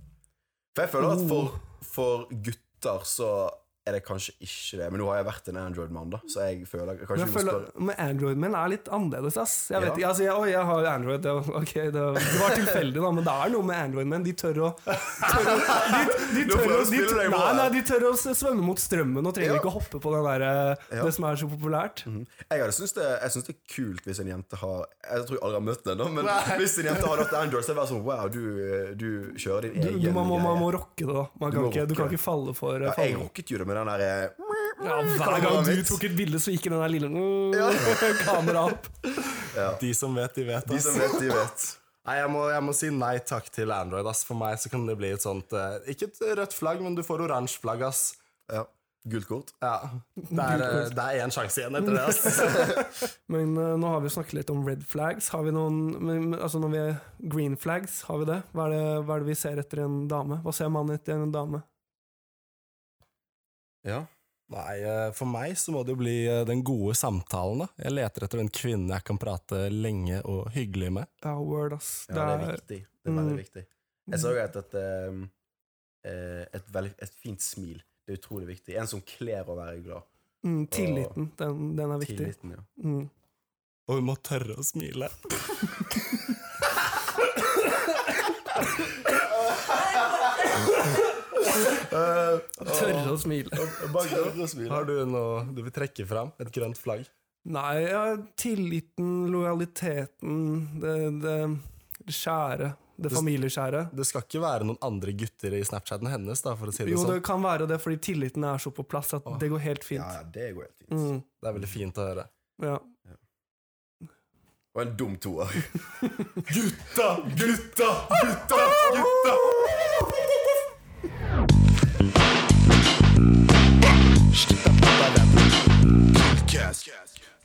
S5: For jeg føler at for, for gutter så er det kanskje ikke det. Men nå har jeg vært en Android-mann, da, så jeg føler kanskje
S6: Men jeg
S5: vi må
S6: føler
S5: spørre
S6: med Android men er litt annerledes, ass. Jeg vet
S5: Ja.
S6: ikke, altså, jeg, oi, jeg har Android, det var, ok, det var, det var tilfeldig da, men det er noe med Android men de tør å tør å- de, de
S5: Nå
S6: tør,
S5: prøver du å
S6: å- de,
S5: spille deg på
S6: nei,
S5: her.
S6: nei, de tør å s- svømme mot strømmen og trenger
S5: Ja. Mm,
S6: ikke å hoppe på den der, eh, det som er så populært.
S5: Jeg hadde syntes det, jeg synes det er kult hvis en jente har Jeg tror jeg aldri har møtt den, da, men (laughs) hvis en jente hadde hatt Android, så hadde jeg vært sånn Wow, du, du kjører din
S6: Du,
S5: egen
S6: du, man, må, man må
S5: greie.
S6: rocke det, da. Man
S5: Du
S6: kan
S5: må
S6: ikke, du kan
S5: rocke.
S6: ikke falle for eh,
S5: ja, Jeg
S6: falle.
S5: rocket jo det med den eh, derre
S6: Ja, hver gang du tok et bilde, så gikk den der lille (laughs) kameraet opp.
S7: De som vet, de vet.
S5: De
S7: Ass.
S5: som vet, de vet.
S7: Nei, jeg må, jeg må si nei takk til Android. Ass. For meg så kan det bli et sånt eh, Ikke et rødt flagg, men du får oransje flagg, ass.
S5: Ja. Gult kort.
S7: Ja. Det er eh, det er én sjanse igjen etter det, ass.
S5: (laughs)
S6: Men eh, nå har vi jo snakket litt om red flags. Har vi noen men, men, Altså når vi er green flags, har vi det? Hva er det, hva er det vi ser etter i en dame? Hva ser mannen etter i en dame?
S7: Nei, eh, for meg så må det jo bli eh, den gode samtalen, da. Jeg leter etter den kvinnen jeg kan prate lenge og hyggelig med.
S6: Ja, word, ass.
S5: Ja, det er viktig. Det er veldig
S6: Mm.
S5: viktig. Jeg så et, et, ehm, eh, et, veldig, et fint smil. Det er utrolig viktig. En som kler å være glad.
S6: mm, Tilliten, den, den er viktig.
S5: Tilliten, ja.
S6: Mm.
S7: Og hun må tørre å smile.
S5: Eh,
S6: Tørre å smile.
S7: Har du noe du vil trekke fram? Et grønt flagg?
S6: Nei, ja, tilliten, lojaliteten, det, det, det skjære. Det familieskjære.
S7: Det skal ikke være noen andre gutter i Snapchaten hennes, da, for å si det
S6: Jo, det
S7: sånn.
S6: kan være det, fordi tilliten er så på plass at det går helt
S5: ja,
S6: fint.
S5: det går helt fint.
S6: Mm,
S7: Det er veldig fint å høre.
S6: ja.
S5: Og en dum toer.
S7: Gutta! Gutta! Gutta! Gutta!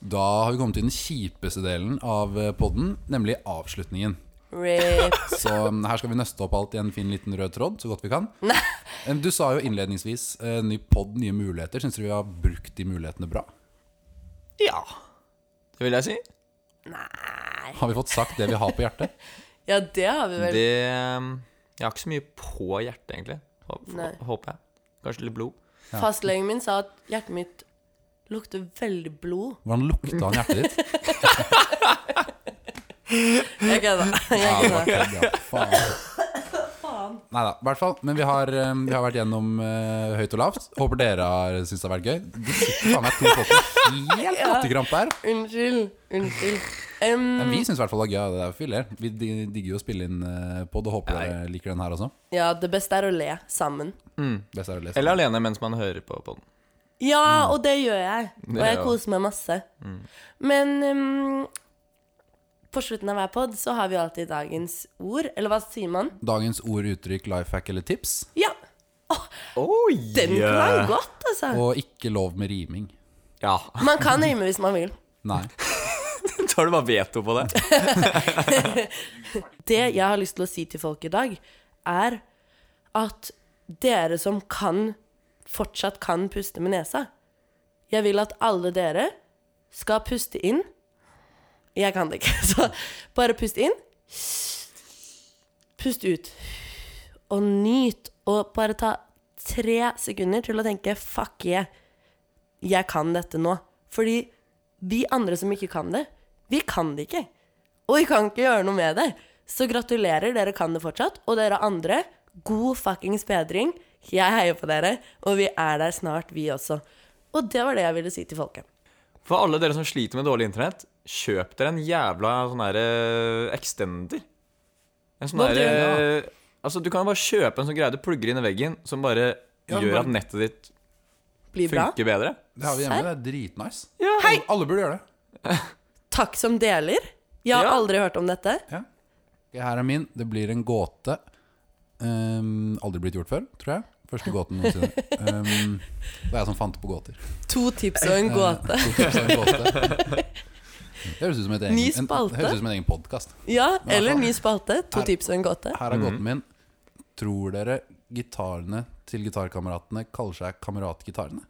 S2: Da har vi kommet til den kjipeste delen av eh, podden, nemlig avslutningen. (laughs)
S1: Rip.
S2: Så um, her skal vi nøste opp alt i en fin liten rød tråd, så godt vi kan. Em, Du sa jo innledningsvis eh, ny pod, nye muligheter. Syns du vi har brukt de mulighetene bra?
S3: Ja. Det vil jeg si.
S2: Har vi fått sagt det vi har på hjertet?
S1: Ja, det har vi vel.
S3: Det um, Jeg har ikke så mye på hjertet, egentlig. Hå-
S1: Nei.
S3: Håper jeg. Kanskje litt blod.
S1: Fastlegen min sa at hjertet mitt lukter veldig blod.
S2: (laughs) Hvordan lukta han hjertet ditt?
S1: Jeg kødder.
S2: Ja,
S1: Jeg
S2: det var
S1: kødder.
S2: kødd, ja. Faen. Nei da, i hvert fall. Men vi har, um, vi har vært gjennom eh, høyt og lavt. Håper dere har syntes det har vært gøy. Det sitter faen meg to folk med helt latterkrampe her.
S1: Unnskyld. Unnskyld. Um, Em,
S2: Men vi syns i hvert fall det er gøy. Det er jo filler. Vi dig- digger jo å spille inn eh, pod og håper dere liker den her også.
S1: ja, det beste er å le sammen.
S2: Best er å lese.
S3: Eller alene mens man hører på podden.
S1: Ja,
S2: Mm.
S1: og det gjør jeg. Og
S3: Det
S1: jeg
S3: gjør jeg.
S1: koser meg masse. Men em, på slutten av hver pod så har vi alltid dagens ord. Eller hva sier man?
S2: Dagens ord, uttrykk, life hack eller tips.
S1: Ja,
S3: Oi!
S1: den klang godt, altså.
S2: Og ikke lov med riming.
S3: Ja.
S1: Man kan rime hvis man vil.
S2: Nei.
S3: (laughs) Tar du bare veto på det?
S1: Det jeg har lyst til å si til folk i dag, er at dere som kan fortsatt kan puste med nesa Jeg vil at alle dere skal puste inn Jeg kan det ikke, (laughs) så bare pust inn. Pust ut. Og nyt. Og bare ta tre sekunder til å tenke 'fuck yeah', jeg kan dette nå. Fordi vi andre som ikke kan det, vi kan det ikke. Og vi kan ikke gjøre noe med det. Så gratulerer, dere kan det fortsatt. Og dere andre, god fuckings bedring. Jeg heier på dere, og vi er der snart, vi også. Og det var det jeg ville si til folket.
S3: For alle dere som sliter med dårlig internett, kjøp dere en jævla sånn her eh, extender. En sånn
S1: Hva
S3: herre Altså, du kan bare kjøpe en sånn greie du plugger inn i veggen, som bare
S2: Ja,
S3: gjør
S2: bare-
S3: at nettet ditt
S1: Blir bra.
S3: funker bedre.
S2: Det har vi hjemme. Det er dritnice.
S1: Hei!
S2: Alle- Alle burde gjøre det.
S1: Takk som deler. Jeg har
S3: Ja.
S1: aldri hørt om dette.
S2: Ok, Her er min. Det blir en gåte. Um, aldri blitt gjort før, tror jeg. Første gåten noensinne. Um, det er jeg som fant
S1: (laughs)
S2: på gåter.
S1: To tips og en gåte.
S2: Eh, to tips og en gåte. Det høres ut som, et egen,
S1: Ny
S2: en,
S1: spalte.
S2: det høres ut som en egen podkast.
S1: Ja, eller ny spalte. To
S2: Her-
S1: tips og en gåte.
S2: Her er gåten min. Tror dere gitarene til gitarkameratene kaller seg
S1: (laughs)
S2: kameratgitarene?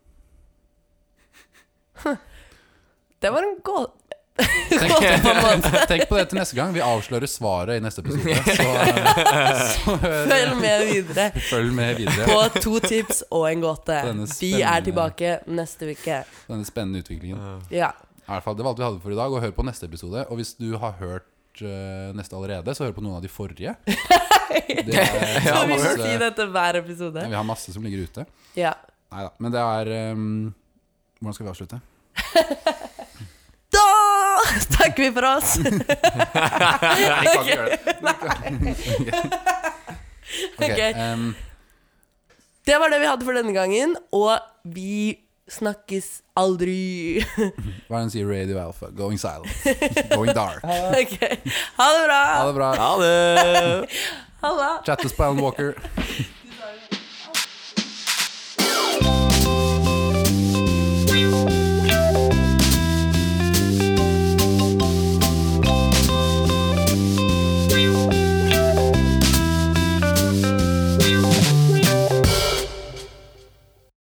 S1: Det var en gåte.
S2: Tenk, (laughs) tenk på det til neste gang. Vi avslører svaret i neste episode. (laughs)
S1: (laughs)
S2: Så, så eh,
S1: Følg med videre
S2: følg med videre
S1: på to tips og en gåte.
S2: Denne
S1: Vi
S2: spennende-
S1: er tilbake neste uke.
S2: på denne spennende utviklingen.
S1: Ja.
S2: I hvert fall, Det var alt vi hadde for i dag. Og hør på neste episode. Og hvis du har hørt eh, neste allerede, så hør på noen av
S1: (laughs)
S2: de forrige. Det er,
S1: Så vi må
S2: masse-
S1: si dette hver
S2: ja,
S1: episode.
S2: vi har masse som ligger ute.
S1: Ja.
S2: Nei da. Men det er ehm, Hvordan skal vi avslutte?
S1: (laughs) Da takker vi for
S2: (laughs)
S1: oss.
S2: Ok,
S1: Ok.
S2: ehm,
S1: Det var det vi hadde for denne gangen, og vi snakkes
S2: (laughs)
S1: aldri.
S2: hva er det den sier? Radio Alpha. Going
S1: (laughs)
S2: silent. Going dark.
S1: Ok, Ha det bra.
S2: Ha det bra.
S3: Ha det!
S1: Ha det.
S2: Chattes på Alan Walker.